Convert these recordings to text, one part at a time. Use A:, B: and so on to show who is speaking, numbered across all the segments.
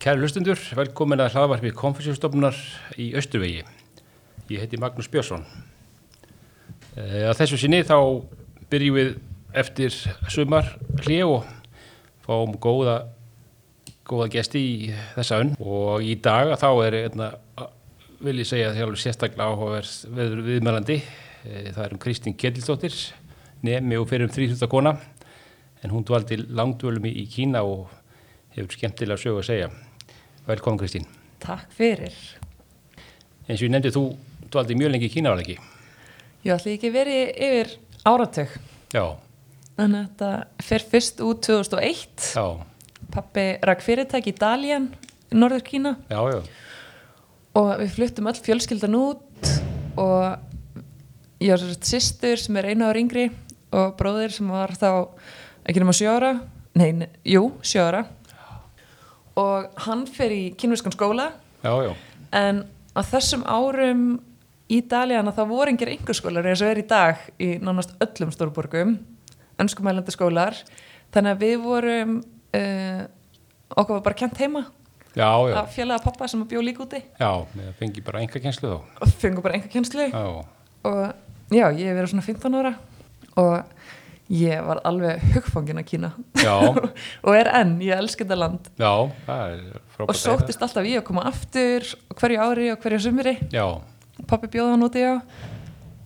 A: Kæri hlustundur, velkomin að hlaðvarpi konfessjórstofnunar í Östurvegi. Ég heiti Magnús Björnsson. Eh, Að þessu sinni þá byrjum við eftir sumar hlið og fáum góða, góða gesti í þessa önn og í dag þá er, einna, vil ég segja, þjálfur sérstaklega áhugaverð veður viðmælandi. Eh, Það er um Kristín Ketilsdóttir, nemi og fyrir um kona en hún dvaldi langdvölum í í Kína og hefur skemmtilega sögu að segja. Velkomin Kristín.
B: Takk fyrir.
A: eins og ég nefndi þú dvaldi mjög lengi í Kína var það ekki
B: Ég ætli ekki verið yfir áratug.
A: já,
B: Þannig að þetta fer fyrst út 2001.
A: já,
B: Pappi rak fyrirtæki í Dalian, Norður Kína
A: já, já,
B: og við fluttum öll fjölskyldan út og ég var sérst sýstur sem er einu ára yngri og bróðir sem var þá ekki nema sjö ára, nei, ne- jú, sjö ára og hann fer í kynviskan skóla
A: já, já,
B: en á þessum árum í Daliana þá voru engir einhverskólar eins og er í dag í nánast öllum stórborgum önskumælandi skólar þannig að við vorum uh, okkur var bara kent heima
A: já, já,
B: af félaga pappa sem bjó líka úti
A: já, já fengi bara enga kjenslu þá
B: og fengum bara einhver kjenslu
A: já,
B: og já, ég hef verið svona 15 ára og ég var alveg hugfangin að Kína
A: Já.
B: og er enn, ég elska þetta land
A: já, það er frábært
B: og sóttist alltaf í að koma aftur hverju ári og hverju sumri
A: já,
B: pappi bjóði hann úti á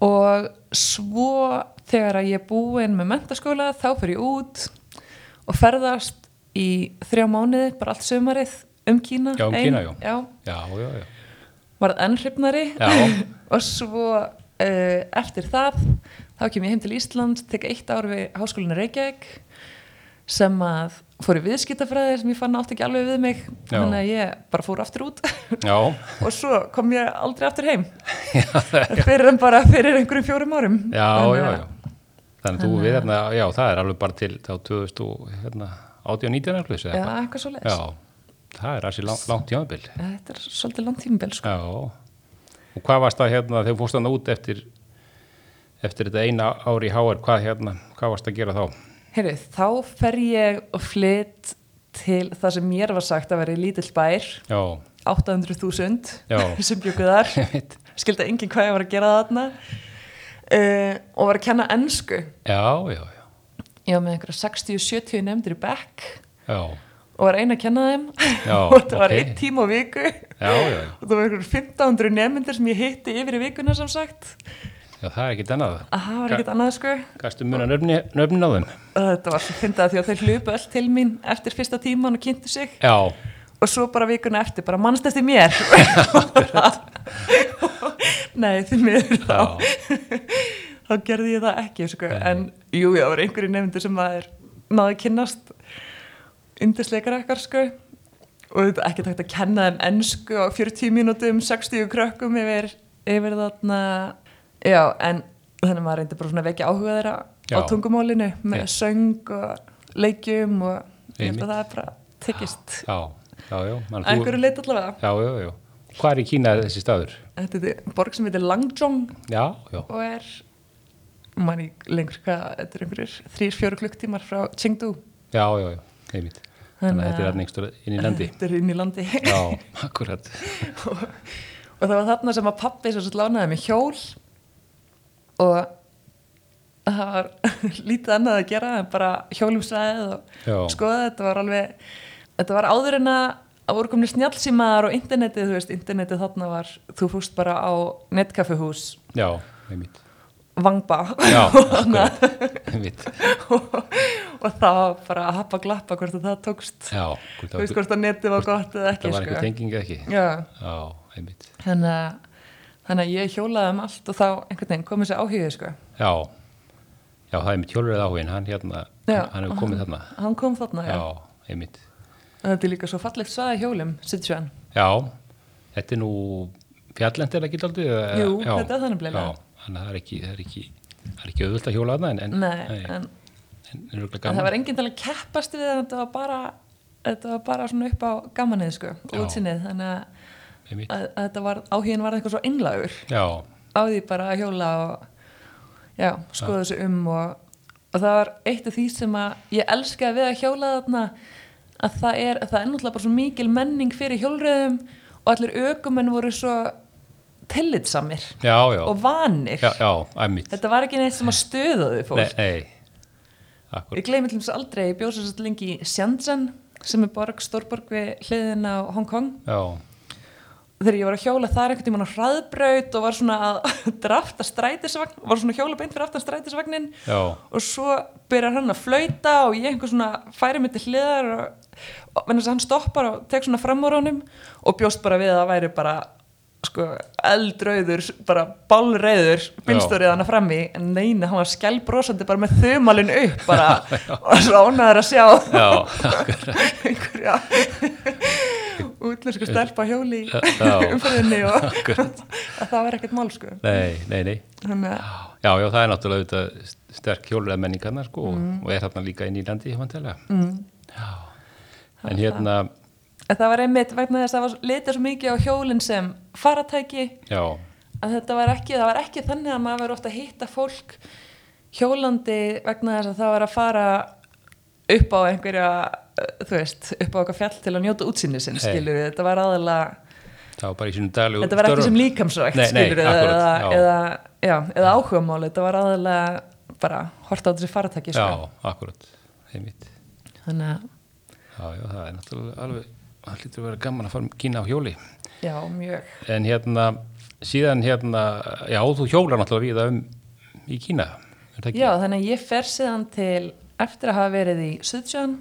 B: og svo þegar að ég er búin með mentaskóla þá fyrir ég út og ferðast í þrjá mánuði bara allt sumarið um Kína
A: Já, um
B: ein.
A: Kína, já.
B: já
A: já, já, já,
B: varð enn hrifnari
A: Já.
B: og svo uh, eftir það þá kem ég heim til Ísland tek eitt ár við háskólinu Reykjavík sem að fór í viðskiptafræði sem ég fann átt ekki alveg við mig
A: Já.
B: þannig að ég bara fór aftur út
A: já,
B: og svo kom ég aldrei aftur heim fyrir en bara fyrir einhverjum fjórum árum
A: já,
B: Þannig
A: já,
B: að-
A: já. Þannig að þú við hérna, já, það er alveg bara til þá 2000 og hérna 18-19 alveg,
B: já,
A: segja.
B: eitthvað svo leiðis
A: Já, það er aðsig langt, langt jáðabil.
B: þetta er svolítið langt tímabil sko.
A: Já, og hvað varst það hérna þegar þú fórst þannig út eftir, eftir þetta eina ári í HR, hvað hérna, hvað varst að gera þá?
B: Heyrðu, þá fer ég og flytt til það sem mér var sagt að vera í lítill bær
A: Já,
B: 800.000
A: Já.
B: sem bjöku þar
A: Einmitt.
B: skildi enginn hvað ég var að gera þarna uh, og var að kenna ennsku
A: já, já, já,
B: ég var með einhverja 60-70 nefndir í bekk
A: já,
B: og var einn að kenna þeim
A: Já,
B: og þetta var
A: ok.
B: einn tíma á viku
A: já, já,
B: og það var einhverjum 1500 nefndir sem ég hitti yfir í vikuna sem sagt
A: já, það er ekkit annað.
B: að það var ekkert annað sko
A: Gastu muna nöfni, nöfnin á þeim?
B: og þetta var svo fyndið að því að þau hlupu öll til mín eftir fyrsta tíman og kynntu sig
A: Já,
B: og svo bara vikuna eftir, bara mannst eftir mér nei, því miður
A: já,
B: þá þá gerði ég það ekki sko. en jú, já, það var einhverju nefndu sem maður náði að kynnast yndisleikar ekkar sko. og þetta er ekki takt að kenna þeim ennsku á 40 mínútum, 60 krökkum yfir, yfir þarna já, en þannig að maður reyndi bara svona að vekja áhuga þeirra á
A: Já.
B: tungumálinu með
A: Já.
B: söng og leikjum og ég
A: Einmitt.
B: held að það er bara tekist
A: já, já, já, man,
B: að einhverju leit allavega
A: já, já, já. Hvað er í Kína þessi staður?
B: þetta er borg sem heitir Langjong
A: Já, já,
B: og er mann í lengur hvað, þetta er einhverjir þrýr, fjóru klukktímar frá Chengdu
A: já, já, já, heimitt. Þannig að þetta er hann einhverstur inn í landi.
B: þetta er inn í landi
A: Já, akkurat.
B: og, og það var þarna sem að pappi sem svo lánaði mig hjól og það var lítið annað að gera en bara hjólum sæðið
A: Já.
B: og skoða þetta var alveg þetta var áður en að að voru komni snjálfsímaðar og internetið, þú veist, internetið þarna var, þú fúst bara á netkaffehús,
A: Já, heimitt.
B: vangba
A: Já, akkurat, heimitt.
B: og, og það var bara að happa glappa hvort að það tókst
A: Já,
B: þú veist
A: hvort
B: hvort að netið var gott eða
A: það
B: ekki sko.
A: var einhver tenging eða ekki.
B: Já,
A: Já, einmitt.
B: þannig að þannig að ég hjólaði um allt og þá einhvern veginn komið sér áhugið sko.
A: Já, já, það er mitt hjólurðið áhugin, hann hérna,
B: Já.
A: hann hefur komið þarna.
B: hann kom þarna já.
A: Já, einmitt.
B: og þetta er líka svo fallegt svaði hjólum Sichuan,
A: Já, þetta er nú fjallend er ekki aldrei?
B: Jú, þetta er það nefnilega.
A: Já, þannig að það er ekki, það er ekki, það er ekki auðvöld að hjóla þarna en, en,
B: nei,
A: en,
B: en
A: en, en örugglega
B: það
A: gaman.
B: var enginn til að keppast við þetta var bara, þetta var bara svona upp á gamanið sko, og
A: Já.
B: útsinnið þannig að,
A: Einmitt.
B: að, að þetta var áhugin var eitthvað svo innlagur
A: Já,
B: á því bara að hjóla og já, skoða þessu um og, og það var eitt af því sem að ég elskaði við að hjóla þarna að það er, það er náttúrulega bara svo mikil menning fyrir hjólröðum og allir ökumenn voru svo tillitsamir
A: já, já,
B: og vanir
A: já, já, æmitt
B: þetta var ekki neitt sem að stöða þau fólk
A: Nei, nei, akkur
B: Ég gleymi til þess aldrei, ég bjóð sérst lengi í Shenzhen sem er borg, stórborg við hliðin á Hong Kong
A: Já,
B: og þegar ég var að hjóla þar einhvern tímann á hraðbraut og var svona að drafta strætisvagn var svona að hjóla beint fyrir aftan strætisvagnin
A: já,
B: og svo byrjar hann að flauta og ég einhver svona færi mig til hliðar og, og menn þess að hann stoppar og tek svona fram úr honum og bjóst bara við að það væri bara sko eldrauður, bara bálreiður bílstórið hann að frammi en neina, hann var skjálbrosandi bara með þumalinn upp bara og svo ánæður að sjá
A: já, akkur
B: einhverja útlensku stelpa á hjóli í
A: Já.
B: umferðinni og að það var ekkert mál sko
A: Nei, nei, nei
B: þannig að
A: Já, já, það er náttúrulega auðvitað st- sterk hjólulega menningarna sko
B: Mm.
A: og- og er þarna líka í nýlandi vantilega. Mm. Já, en hérna,
B: En það var einmitt vegna þess að það var litið svo mikið á hjólinn sem faratæki
A: já,
B: að þetta var ekki, það var ekki þannig að maður var ofta að hitta fólk hjólandi vegna þess að það var að fara upp á einhverja eh, þú veist, upp á eitthvað fjall til að njóta útsýnisinn,
A: Nei.
B: skilur þetta var aðalega,
A: það var bara í sínum daglegu
B: þetta var ekki sem líkamsrækt
A: Nei, nei,
B: skilur eða,
A: akkúrat, já.
B: eða, já, eða áhugamál þetta var aðalega bara horta á þessi faratæki sko.
A: Já, akkurat, heimitt.
B: þannig að,
A: Já, já, það er náttúrulega alveg, það lítur að vera gaman að fara um kína á hjóli.
B: já, mjög
A: En hérna, síðan hérna, já, þú hjólar náttúrulega víða um í Kína, er það ekki?
B: Já, þannig að ég fer síðan til eftir að hafa verið í Suðsjön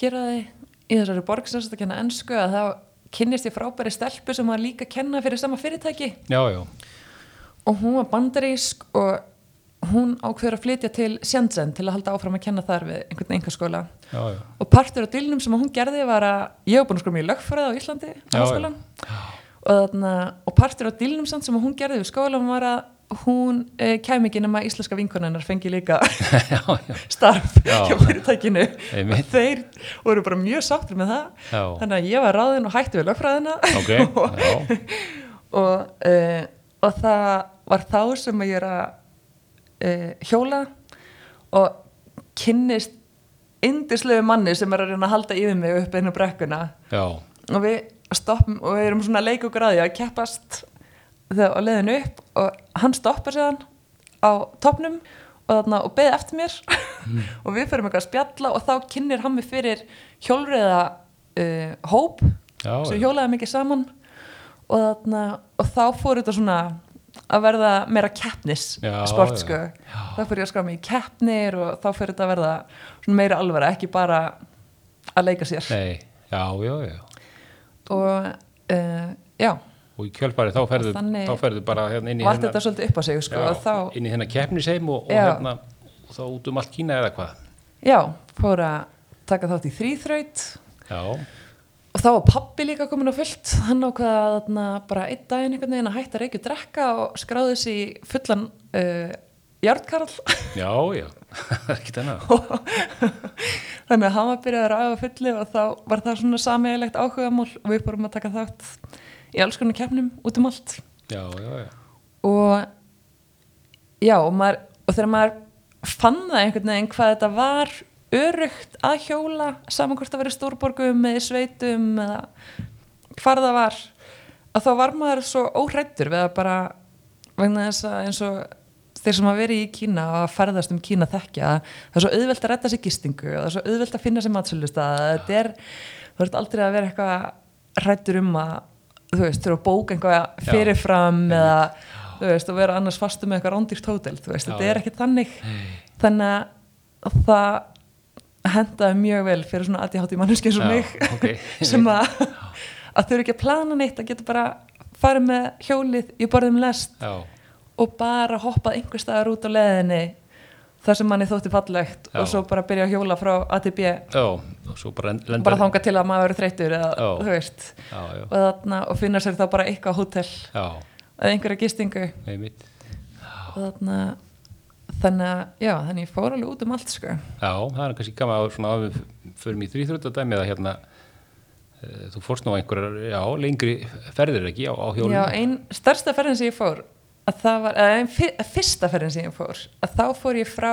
B: hér að í þessari borg sem þetta kenna ennsku að þá kynnist ég frábæri stelpu sem var líka að kenna fyrir sama fyrirtæki
A: Já, já,
B: og hún var bandarísk og hún ákveður að flytja til Shenzhen til að halda áfram að kenna þar við einhvern einhverskóla
A: já, já,
B: og partur á dýlnum sem hún gerði var að ég var búin að sko mjög lögfræði á Íslandi
A: Já,
B: á skólan og, þarna, og partur á dýlnum samt sem hún gerði við skólan var að hún eh, kæmi ekki nema íslenska vinkonennar fengi líka
A: já, já,
B: starf
A: Já.
B: hjá fyrirtækinu
A: Einmitt.
B: og þeir voru bara mjög sáttir með það
A: Já.
B: þannig að ég var ráðin og hætti við lögfræðina
A: ok,
B: og,
A: já,
B: og, uh, og það var þá sem ég er að uh, hjóla og kynnist indislegu manni sem er að reyna að halda yfir mig upp einu brekkuna
A: já,
B: og við stoppum og við erum svona að leika okkur að því að keppast þegar á leiðinu upp og hann stoppar séðan á topnum og, þarna, og beði eftir mér og við förum eitthvað að spjalla og þá kynir hann mig fyrir hjólreiða uh, hóp
A: já,
B: sem
A: já,
B: hjólaði mikið saman og, þarna, og þá fór þetta svona að verða meira keppnis
A: Já,
B: sport
A: já.
B: sko, þá fór ég að skrá mig í keppnir og þá fór þetta að verða svona meira alvara, ekki bara að leika sér
A: nei, já, já, já.
B: og uh, já,
A: og í kjölfarið þá ferðu,
B: þannig-
A: þá ferðu bara hérna inn í
B: og allt þetta svolítið upp á sig sko,
A: já,
B: og þá,
A: inn í hérna keppnisheim og, og
B: Já.
A: hérna og þá út um allt Kína eða hvað
B: já, fór að taka þátt í þrýþraut
A: já,
B: og þá var pappi líka komin á fullt hann ákvaða að þarna, bara einn daginn einhvern veginn að hætta að reykja og drekka og skráði þessi fullan uh, járnkarl
A: já, já ekki þannig
B: þannig að hann var byrjaður að ræða fulli og þá var það svona sameiglegt áhugamál og við fórum að taka þátt í alls konar keppnum út um allt
A: já, já, já,
B: og já, og, maður, og þegar maður fann það einhvern veginn hvað þetta var örugt að hjóla saman hvort það verið stórborgum eða í sveitum eða hvar það var að þá var maður svo óhrættur við að bara vegna þess að eins og þeir sem að veri í Kína og að ferðast um Kína þekkja að það er svo auðvelt að redda sér gistingu og það er svo auðvelt að finna sér matsölustað þetta er, þú ert aldrei að vera eitthvað hrættur um að þú veist, þurfa að bóka einhvað
A: Já.
B: fyrirfram eða þú veist, og vera annars fastu með eitthvað rándýrt hótel, þú veist,
A: Já,
B: þetta
A: já.
B: er ekki þannig þannig að það hendaði mjög vel fyrir svona ADHD manneski eins og
A: Já,
B: mig
A: ok.
B: sem að, að þau eru ekki að plana neitt að geta bara farið með hjólið í borðum lest
A: já,
B: og bara hoppað einhver staðar út á leðinni þar sem manni þótti fallegt
A: Já.
B: og svo bara byrja að hjóla frá A til B
A: já og svo bara en- lendar
B: bara þanga til að maður verið þreyttur eða
A: Já.
B: þú veist
A: já, já,
B: og, þarna, og finna sér þá bara eitthvað hótel
A: já,
B: eða einhverja gistingu
A: einmitt
B: og þarna þannig að já, þannig ég fór alveg út um allt sko
A: já, það er kannski gaman að svona að við förum í þrýþröndadæmi eða hérna eh, þú fórst nú á einhverjar, já, lengri ferðir ekki á, á hjólum
B: Já, einn stærsta ferðin sem ég fór að það var, eða einn fyr, fyrsta ferðin sem ég fór að þá fór ég frá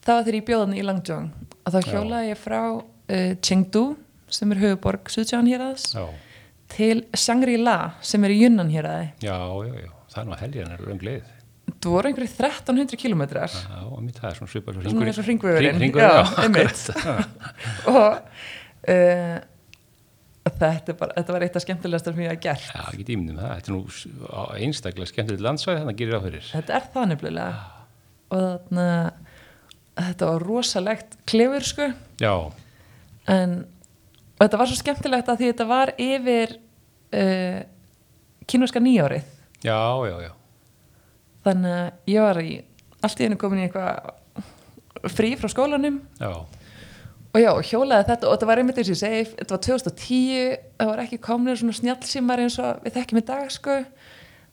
B: það var þegar ég bjóðan í Langjón og þá hjólaði ég frá uh, Chengdu sem er höfuborg Suðsján héraðs
A: já,
B: til Shangri-La sem er í Yunnan héraði
A: já, já, já. það er nú að heljan er raung leið
B: þú voru einhverju 1300 kilometrar
A: já, mitt, það er svona svipað svo
B: Svona eins og hringvegurinn.
A: hringur,
B: Já,
A: já,
B: einmitt.
A: akkurat.
B: og uh, þetta, er bara, þetta var eitt af skemmtilegast sem ég hef gert
A: já, ekki dýmnum það, þetta er nú s- á- einstaklega skemmtilegt landsvæði þannig að gera ráð fyrir
B: þetta er það nefnilega og þarna þetta var rosalegt klefur sko
A: já,
B: en og þetta var svo skemmtilegt að því þetta var yfir uh, kínverska nýjárið
A: já, já, já
B: þannig að ég var í allt í hennu komin í eitthvað frí frá skólanum
A: já,
B: og já, hjólaði þetta og þetta var einmitt eins og ég segi, þetta var 2010 það var ekki komnir svona snjallsímar eins og við þekkjum í dag sko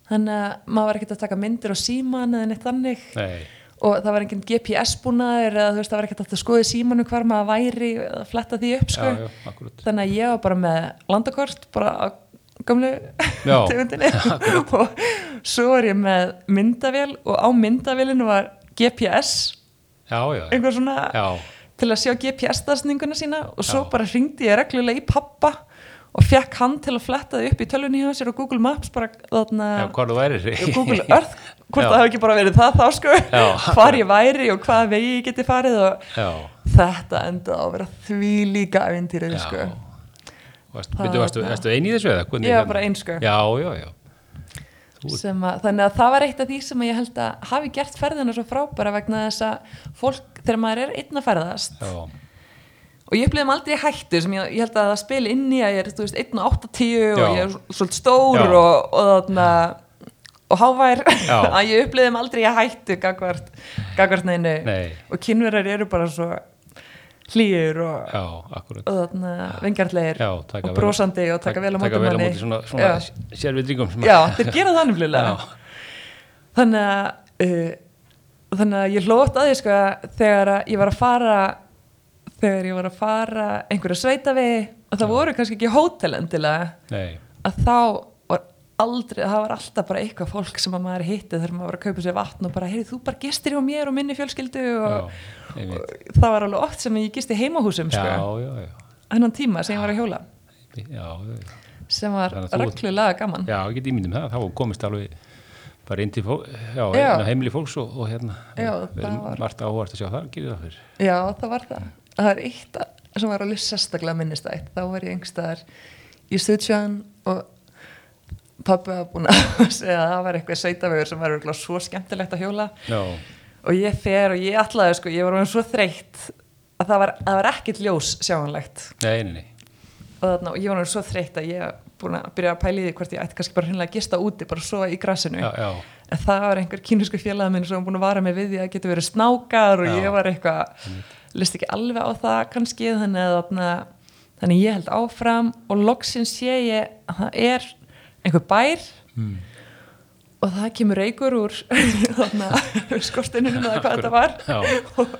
B: þannig að maður var ekkert að taka myndir á síman eða neitt þannig
A: nei,
B: og það var enginn GPS búnaður eða þú veist það var ekkert hægt að skoða í símanum hvar maður væri eða fletta því upp sko
A: já, já, akkurat
B: þannig að ég var bara með landakort bara á gamlu
A: Já.
B: tegundinni og svo var ég með myndavél og á myndavélinu var GPS
A: já, já, já,
B: einhver svona
A: já,
B: til að sjá GPS-darsninguna sína og svo
A: Já.
B: bara hringdi ég reglulega í pappa og fekk hann til að fletta því upp í tölvunni hjá sér og Google Maps bara þarna
A: já, hvað þú værir
B: og Ah. Google Earth, hvort
A: Já.
B: það hafi ekki bara verið það þá sko,
A: Já.
B: hvar ég væri og hvaða vegi ég geti farið og
A: já,
B: þetta endaði á að vera því líka ævintýrið sko.
A: já Varst,
B: Það
A: byrju,
B: var
A: varstu,
B: bara-
A: varstu einn í þessu eða? Hvernig
B: Ég var
A: hérna-
B: bara ein, sko.
A: Já, já, já, Þú-
B: Sem að, þannig að það var eitt af því sem að ég held að hafi gert ferðina svo frábæra vegna þess að fólk, þegar maður er einn að ferðast
A: já,
B: og ég upplifði mig aldrei í hættu sem ég, ég held að það spili inn í að ég er þú veist, 1 og 8 og
A: Já.
B: ég er svolítið stór
A: Já.
B: og, og þarna og hávær
A: Já.
B: að ég upplifði mig aldrei í hættu gagvart, gagvart neinu
A: Nei.
B: og kynverar eru bara svo hlýjur og,
A: já, akkurat
B: og þarna vengjartlegir
A: Já, taka
B: og
A: vel-
B: brosandi og taka vel á móti
A: Taka vel á
B: manni
A: móti svona, svona
B: já.
A: sér við dringum
B: já, þeir gera það nefnilega
A: Já.
B: þannig að uh, þannig að ég hlótt að því sko að þegar að ég var að fara þegar ég var að fara einhverja sveitavegi og það voru kannski ekki hótel endilega
A: Nei,
B: að þá var aldrei, það var alltaf bara eitthvað fólk sem að maður hitti þegar maður var að kaupa sér vatn og bara, heyrðu þú bara gistir hjá mér og minni fjölskyldu og, sko.
A: já, einmitt
B: og það var alveg oft sem ég gisti heimahúsum
A: Já,
B: sko,
A: já, já,
B: hennan tíma sem ég var að hjóla
A: einmitt, já, já, já
B: sem var
A: Þannig að þú-
B: reglulega gaman
A: Já, ég get ímyndum það, þá komist alveg bara inn til fó, já,
B: Já.
A: já. heimili fólks og, og hérna
B: Já,
A: við
B: það
A: erum
B: var-
A: margt áhvert að sjá það, gerir það fyrir
B: Já, það var það. Það er eitt að- sem var alveg sérstaklega minnistætt. Þá var ég einhverstaðar í Suðsján og pappi var búin að segja að það var eitthvað sveitavegur sem var örugglega svo skemmtilegt að hjóla
A: Já,
B: og ég fer og ég ætlaði sko, ég var orðin svo þreytt að það var, það var ekkert ljós sjáanlegt
A: nei, nei, nei
B: og þarna, og ég var orðin svo þreytt að ég var búin að byrja að pæla í því hvort ég ætti kannski bara hreinlega að gista úti, bara að sofa í grassinu
A: Já, já,
B: en það var einhver kínisku félag minn sem var búin að vara mig við því að það getur verið snákar og
A: Já.
B: ég var eitthvað list ekki alveg á það kannski þannig að þarna, þannig ég held áfram og loksins sé ég að það er einhver bær
A: Hmm.
B: og það kemur reykur úr þarna skorsteininum eða hvað þetta var
A: Já.
B: og,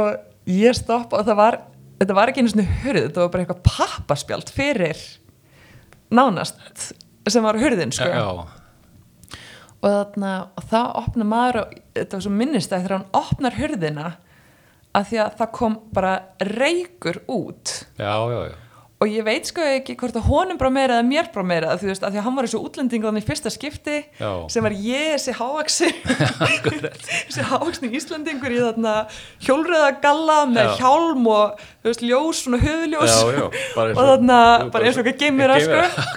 B: og ég stoppa og það var þetta var ekki einu svona hurð, þetta var bara eitthvað pappaspjald fyrir nánast sem var hurðin sko
A: já,
B: og, þarna, og það opna maður og þetta var svo minnistæð þegar hann opnar hurðina að því að það kom bara reykur út
A: já, já, já.
B: og ég veit sko ekki hvort að honum brá meira eða mér brá meira þú veist, að því að hann var eins og útlending þannig í fyrsta skipti
A: Já.
B: sem var ég, þessi hávaksi þessi hávaksni íslendingur í þarna hjólröðagalla með
A: Já.
B: hjálm og þú veist, ljós, svona höfuljós
A: Já, já, bara eins
B: og
A: og-
B: þarna,
A: jú, bara
B: bara eins
A: eins
B: og
A: og-
B: ekki geimira sko,
A: geimvera,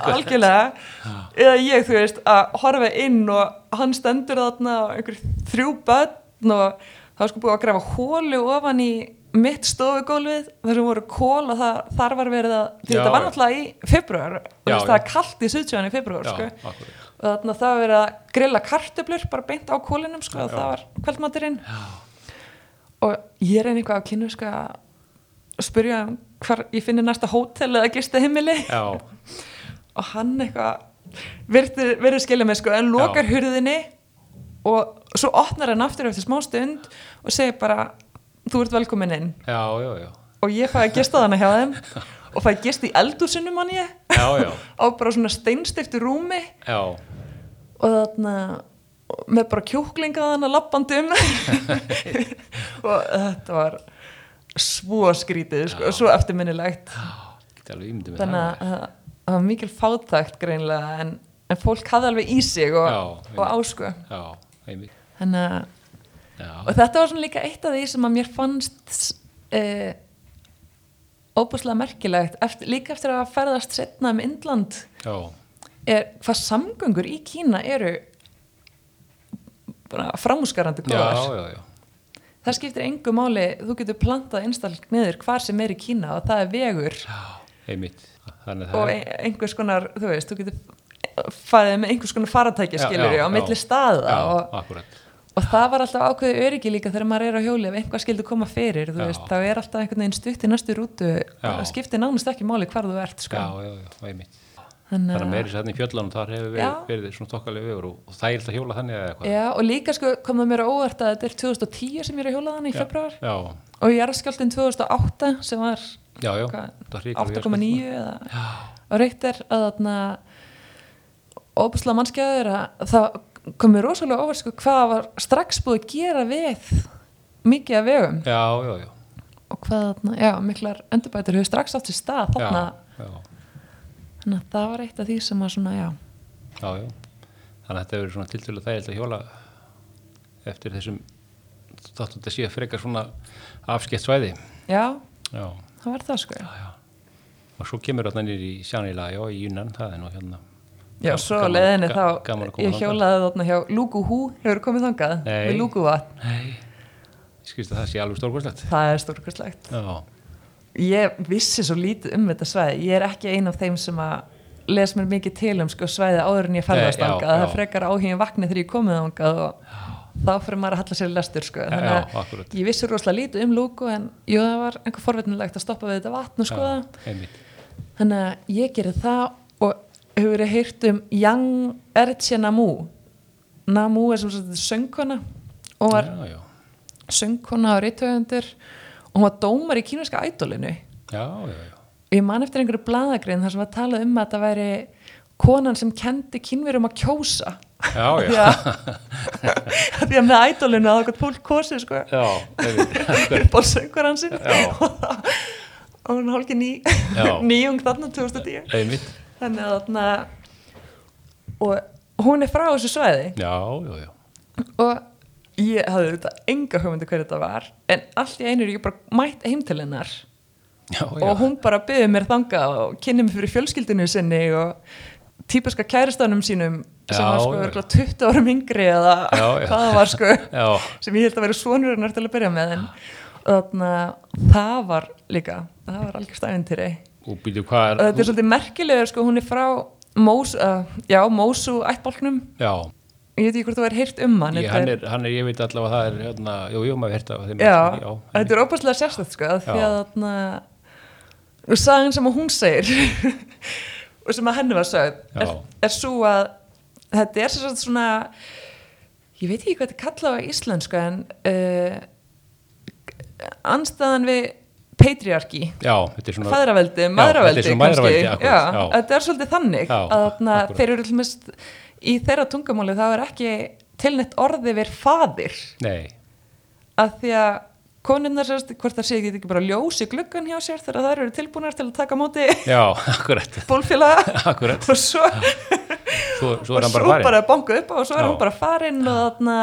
B: algjörlega eða ég, þú veist, að horfa inn og hann stendur þarna og einhver þrjú börn og það var sko búið að grafa hólu ofan í mitt stofugólfið þar sem voru kól og það, þar var verið að því
A: Já,
B: þetta var
A: já.
B: náttúrulega í februar
A: Já,
B: það
A: já.
B: er kallt í Suðsjóðan í februar
A: Já,
B: sko.
A: akkurat.
B: og þarna það var verið að grilla kartöflur bara beint á kólinum sko, og
A: Já.
B: það var kvöldmaturinn og ég reyni eitthvað á kynu sko, að spyrja hann hvar ég finni næsta hótel eða gistaheimili
A: Já,
B: og hann eitthvað verður verður skilja mig sko en lokar
A: Já.
B: hurðinni og svo opnar hann aftur eftir smá stund og segir bara þú ert velkomin inn
A: já, já, já.
B: og ég fæði gist að hana hjá þeim og fæði gist í eldúsinu mann ég
A: Já, já.
B: á bara svona steinstiftu rúmi
A: Já,
B: og þarna með bara kjúklinga þarna lappandi um og þetta var svo skrítið sko, svo eftirminnilegt
A: Geti alveg ímyndið með
B: þannig að að- það var mikil fátækt greinlega en, en fólk hafði alveg í sig og,
A: Já,
B: og á sko
A: það. Já, einmitt.
B: þannig að
A: Já,
B: og þetta var svona líka eitt af því sem að mér fannst uh, óbúslega merkilegt eftir, líka eftir að ferðast setna um Indland
A: já,
B: er hvað samgöngur í Kína eru bara framúskarandi
A: já,
B: góðar
A: já, já.
B: það skiptir engu máli, þú getur plantað innstallning niður hvar sem er í Kína og það er vegur
A: Já, einmitt. Þannig að
B: og
A: það
B: ein- einhers konar, þú veist, þú getur farið með einhvers konar faratækja
A: Já,
B: skilur
A: já,
B: á milli
A: já.
B: staða
A: Já,
B: og,
A: akkurat.
B: og það var alltaf ákveðið öryggi líka þegar maður er á hjóli ef einhvað skildur koma fyrir, þú
A: Já.
B: veist, þá er alltaf einhvern veginn stutt í næstu rútu
A: Já.
B: það skiptir nánast ekki máli hvar þú ert
A: Já,
B: sko.
A: já, já, einmitt.
B: þannig
A: Þannig að
B: að-
A: meiri sætni í sko. fjöllunum þar hefur verið,
B: Já.
A: verið svona tokkalegu vegur og, og það er alltaf hjóla þannig eða eitthvað.
B: Já, og líka sko, kom það mér á óvart að þetta er 2010 sem ég er að hjóla þannig í februar
A: Já,
B: og jarðskjálftinn 2008 sem var
A: já, já.
B: Hvað,
A: þetta var hrikalegur
B: 8,9
A: jarðskjálfti.
B: eða, og reykt er að þarna óbúslega mannskjaður að það kom mér rosalega óvart sko, hvað var strax búið að gera við mikið af vegum
A: Já, já, já.
B: og hvað þarna, já, miklar endurbætur hefur strax átt sér stað
A: Já,
B: þarna
A: já.
B: þannig að það var eitt af því sem að svona, já,
A: Já, já. Þannig að þetta hefur verið svona tiltölu þægild að hjóla eftir þessum þáttu þetta sé frekar svona afskett svæði.
B: já,
A: Já,
B: það var það sko já,
A: já. Og svo kemur þarna nýr í Sjanila, já, í Yunnan, það er nú hérna.
B: já
A: Gaman-
B: svo
A: gaman-
B: leðinni
A: ga-
B: þá
A: gaman að koma
B: ég
A: þangað.
B: hjólaði þarna hjá Lúku Hú hefur komið þangað,
A: Nei.
B: við Lúku vatn
A: Nei, ég skilst að það sé alveg stórkvæslegt.
B: það er stórkastlegt
A: Já,
B: ég vissi svo lítið um þetta svæði ég er ekki ein af þeim sem að les mér mikið til um sko, svæði áður en ég ferðast
A: Nei, já,
B: ángað það
A: já.
B: frekar áhugin vakni þegar ég komið ángað og þá fyrir maður að halla sér í lestur sko.
A: Já,
B: þannig
A: já,
B: að
A: akkúrat.
B: ég vissi rosalega lítið um lúku en jú, það var einhver forvitnilegt að stoppa við þetta vatn og skoða
A: já, einmitt.
B: þannig að ég gerði það og hefur verið heyrt um Yang Erche Namu Namu er sem sagt söngkona og var
A: Já, já.
B: söngkona og reytöfundur og hún var dómar í kínuska ædolinu
A: Já, já, já.
B: og ég man eftir einhverju bladagrein þar sem var talað um að þetta væri konan sem kendi kynverum að kjósa
A: Já, já.
B: Já. Af því að með ædolinu að okkur fólk kosi sko,
A: Já, einmitt.
B: upp á söngur hansinn
A: Já.
B: og það- og hún hálki ný,
A: Já.
B: nýjung þarna 2010
A: Einmitt.
B: þannig að þarna og hún er frá þessu svæði
A: Já, já, já.
B: og ég hafði auðvitað enga hugmyndu hver þetta var en allt í einu er ég bara mætt heim til hennar
A: Já, já.
B: og hún bara byggði mér þangað og kynni mér fyrir fjölskyldinu sinni og típiska kæristanum sínum sem
A: Já,
B: var sko
A: já.
B: örgulega 20 árum yngri eða
A: Já, já.
B: hvað það var sko
A: Já,
B: sem ég held að vera svonur hennar til að byrja með en þannig að það var líka það var algjörst ævintýri
A: og býtu hvað
B: og
A: er...
B: þetta er svolítið merkilegur sko hún er frá Mós, uh, já, Mósu ættbólknum
A: Já,
B: ég veit ekki hvort þú er heyrt um hann
A: Ég,
B: þetta
A: hann, er, hann er, ég veit allavega að það er, hérna, jú, jú, maður hérta af þeim.
B: já,
A: já,
B: þetta er óbærslega sérstætt sko, af því
A: Já.
B: að þarna og sagan sem að hún segir og sem að henni var sögð er,
A: Já.
B: er svo að þetta er sem sagt svona ég veit ekki hvað þetta er kallað á íslensku en uh, anstæðan við patriarki
A: já, þetta er svona,
B: fæðraveldi,
A: Já,
B: maðraveldi
A: þetta er svona
B: kannski.
A: mæðraveldi, akkúrat,
B: já,
A: já.
B: þetta er svolítið þannig
A: Já,
B: að þarna,
A: akkúrat.
B: þeir eru til dæmis í þeirra tungumáli þá er ekki tilnett orði verið fadir
A: nei,
B: að því að konunnar sérst, hvort það sé ekki, ekki bara ljós í gluggan hjá sér þegar þær eru tilbúnar til að taka á móti
A: já, akkurat,
B: bólfélaga
A: akkurat,
B: og svo,
A: svo, svo
B: og
A: er hann
B: svo
A: bara farinn.
B: bara bankuð upp á og svo er
A: Já.
B: hún bara farin og, þarna,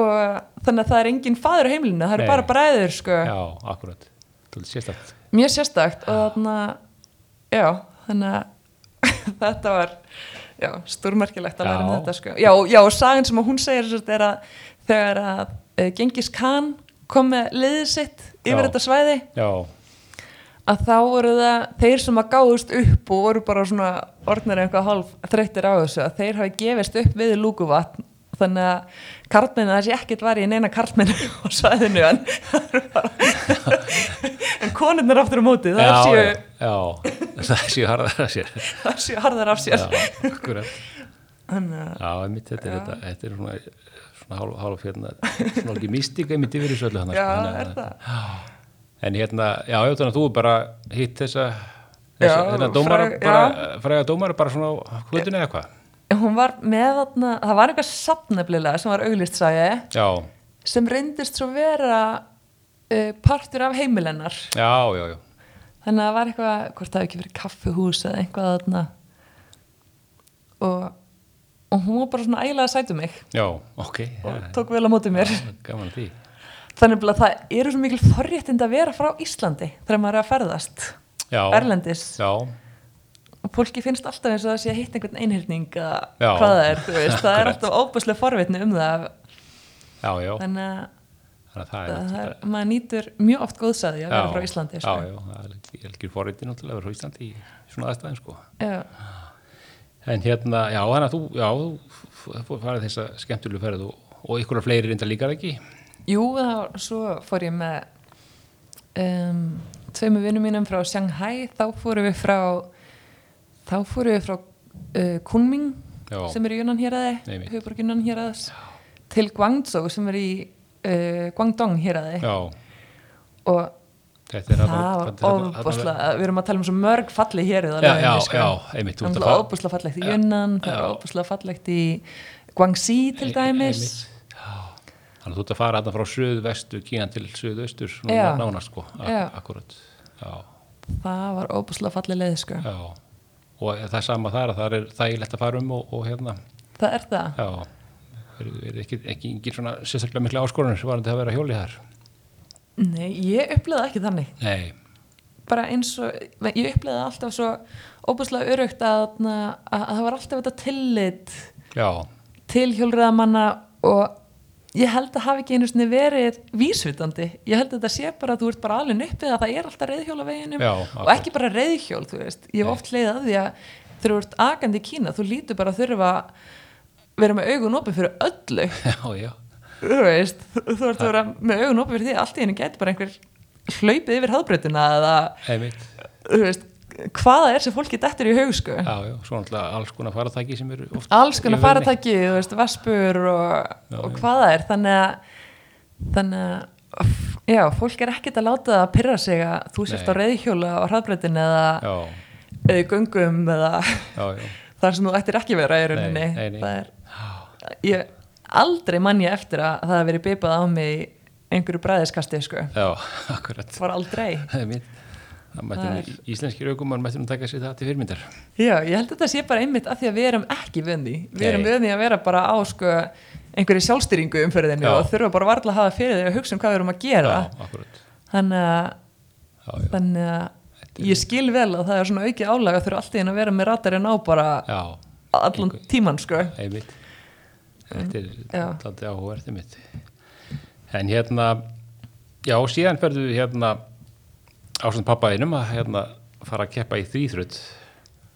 B: og þannig að það er engin faður á heimilinu, það eru
A: Nei.
B: bara bræður sko.
A: Já, akkurat, þú veist sérstakt.
B: mjög sérstakt og þarna já, þannig að þetta var já, stórmerkilegt að læra um
A: Já.
B: þetta sko. já, já, og sagan sem að hún segir sem sagt er að þegar að uh, Gengis Khan kom með liðið sitt yfir
A: Já.
B: þetta svæði
A: Já,
B: að þá voru það þeir sem að gáðust upp og voru bara svona orðnir eitthvað hálf þreyttir á þessu að þeir hafi gefist upp við lúkuvatn þannig að karlmenn það sé ekkert var í neina karlmenn á svæðinu en, það eru bara- en konurnar aftur á móti það
A: já,
B: séu,
A: já, já, það séu harðar að sér.
B: það séu harðar af sér
A: Já, akkurat,
B: þannig að
A: já, einmitt, þetta er, þetta, þetta er svona, svona hálf, hálf, hérna, svona ekki místík, einmitt yfir þessu öllu hann.
B: já, er það
A: En hérna, já, já, þannig að þú bara hitt þessa,
B: Já,
A: þessa, þennan dómara,
B: fræg-
A: bara,
B: já.
A: fræga dómara bara svona á hlutunni eða hvað?
B: hún var með þarna, það var eitthvað sapnefnilega sem var auglist sæði
A: Já,
B: sem reyndist svo vera uh, partur af heimilennar
A: já, já, já.
B: þannig að það var eitthvað, hvort það hefði ekki verið kaffuhús eða eitthvað þarna og, og hún var bara svona ægilega að sætu mig
A: Já, ok.
B: og
A: Já,
B: tók vel á móti mér
A: gaman að því.
B: þannig að það eru svo mikil forréttind að vera frá Íslandi þegar maður er að ferðast
A: Já.
B: Erlendis
A: Já,
B: og fólki finnst alltaf eins og það sé að hitta einhvern einhyrning eða
A: Já.
B: hvað það er, þú veist, það er
A: Akkurat.
B: alltaf óbúslega forvitni um það
A: já, já.
B: þannig að
A: Þannig að það er...
B: það er, maður nýtur mjög oft góðsæði að vera
A: Já,
B: frá Íslandi
A: Já,
B: sko.
A: já, það er ekki forreytið náttúrulega að vera frá Íslandi í svona aðstæðin sko.
B: já.
A: En hérna, já, þannig að þú, já, þú f- f- farið þessa skemmtilegu ferð og, og ykkur fleiri reynda líka er ekki.
B: Jú, það var, svo fór ég með um, tveimu vinnum mínum frá Shanghai, þá fórum við frá þá fórum við frá uh, Kunming
A: Já.
B: sem er í Yunnan héraði,
A: Einmitt.
B: höfuborg Yunnan héraðs til Guangzhou sem er í uh, Guangdong héraði
A: Já,
B: og
A: þetta er
B: það var óbúslega við erum að tala um svo mörg falli hér
A: Já, já, já, einmitt, þú ert að
B: Það er
A: fara-
B: óbúslega fallegt í Yunnan, það er
A: Já.
B: óbúslega fallegt í Guangxi til dæmis.
A: Einmitt, já. Þannig að þú ert að fara þarna frá suðvestu Kína til suðaustur,
B: Já.
A: svona nána sko,
B: Já.
A: akkurat. Já,
B: Það var óbúslega falleg leið, sko.
A: já. Og það er sama þar að það er þægilegt að fara um og, og hérna,
B: Það er það.
A: já, er, er ekki, ekki engin svona sérstaklega mikla áskorunir sem varandi að vera hjólið þar.
B: Nei, ég upplegaði ekki þannig.
A: Nei,
B: Bara eins og, ég upplegaði alltaf svo óbúslega örugt að, þarna- að, að það var alltaf þetta tillit
A: já,
B: til hjólriðamanna og ég held að hafi ekki einu sinni verið vísvitandi. Ég held að þetta sé bara að þú ert bara alveg uppið að það er alltaf reyðhjólaveginum
A: Já,
B: og
A: akkurat.
B: ekki bara reyðhjól, þú veist. Ég hef
A: Nei.
B: oft leiðið að því að þegar þú ert agandi í Kína, þú lítur bara að þurfa að vera með augun opið fyrir öllu.
A: já, já,
B: þú veist, þú þú ert að vera með augun opið fyrir því að allt í henni getur bara einhver hlaupið yfir hafbreytuna eða,
A: einmitt,
B: þú veist, hvaða er sem fólki dettur í haug, sko.
A: já, já, svona alltaf alls konar faratæki sem eru oft
B: Alls konar
A: í vörunni.
B: faratæki, þú veist, vespur og,
A: Já,
B: og
A: já.
B: hvaða er, þannig að, þannig að, f- já, fólk er ekkert að láta það að pyrra sig að þú
A: Nei.
B: sért á reyðhjóla á hafbreytinu eða,
A: Já,
B: eða í göngum eða
A: já, já,
B: þar sem þú ættir ekki að vera í rauninni.
A: nei, nei.
B: Það er, ég, aldrei mann ég eftir að það hafi verið bipað á mig í einhverju bræðiskasti, sko.
A: já, akkurat,
B: var aldrei
A: einmitt. Það mætti
B: Það
A: nú íslenskir aukumann mætti nú taka sér það til fyrirmyndar.
B: já, ég held að þetta sé bara einmitt að því að við erum ekki vöndi við erum
A: Nei.
B: vöndi að vera bara á sko, einhverju sjálfstyringu umferðinu
A: Já.
B: og þurfa bara varla að hafa fyrir þeir að hugsa um hvað við erum að
A: Já,
B: gera
A: akkurat,
B: þannig að,
A: já, já,
B: þannig að ég skil vel að það er svona aukið álaga þurfa alltaf inn að vera með ratarinn á bara
A: já,
B: allan
A: Einhver-
B: tíman sko
A: einmitt. Þetta er
B: Mm, já.
A: alltaf áhugaverðið mitt. En hérna, já, síðan ferðu hérna ásand pappaðinum að hérna fara að keppa í þrýþrödd.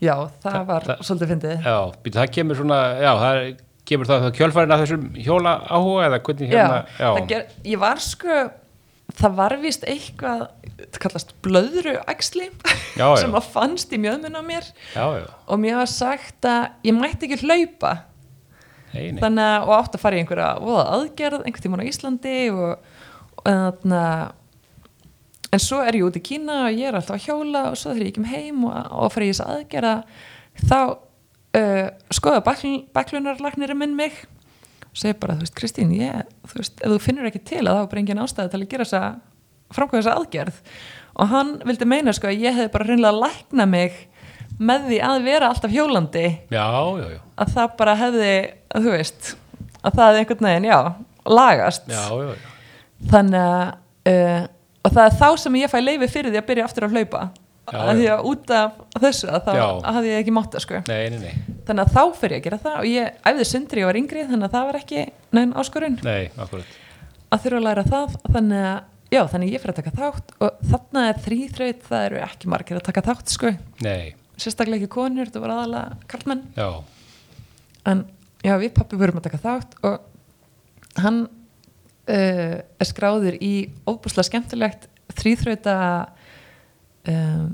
B: já, það var
A: það-
B: svolítið fyndið
A: Já, býtu, það kemur svona, já, það er- kemur það þá kjölfærin að þessum hjóla áhuga eða hvernig hérna, já,
B: það ger, ég var sko það var vist eitthvað það kallast blöðruæxli
A: Já, já.
B: sem að fannst í mjöðmun á mér
A: já, já,
B: og mér var sagt að ég mætti ekki hlaupa
A: nei, nei,
B: þannig að, og átt að fara í einhverja voða aðgerð einhvern tímann á Íslandi og, og þannig en svo er ég út í Kína og ég er alltaf að hjóla og svo þegar ég kem heim og, og fyrir ég þess aðgerða þá uh, skoða bakl- baklunarlagnirinn minn mig og segi bara, þú veist, Kristín, ég, þú veist, ef þú finnur ekki til að þá er bara engin ástæði til að gera þessa framkvæða þessa aðgerð og hann vildi meina sko að ég hefði bara hreinlega lækna mig með því að vera alltaf hjólandi
A: já, já, já,
B: að það bara hefði, þú veist að það hefði einhvern veginn, já, lagast
A: já, já, já,
B: þannig að uh, og það er þá sem ég fæ leifi fyrir því að byrja aftur að hlaupa
A: Já,
B: að því
A: já.
B: að út af þessu að þá
A: Já.
B: hafði ég ekki mátt það sko
A: nei, nei, nei,
B: þannig að þá fyrir ég að gera það og ég æfði sundri og var yngri þannig að það var ekki neinn áskorun
A: nei, akkurat,
B: að þurfa að læra það þannig að, já, þannig að ég fyrir að taka þátt og þannig að þrýþraut það eru ekki margir að taka þátt sko
A: nei,
B: sérstaklega ekki konur, þetta voru aðalega karlmenn
A: já,
B: en já, við pappi vorum að taka þátt og hann uh, er skráður í óbúslega skemmtilegt þrýþrauta um,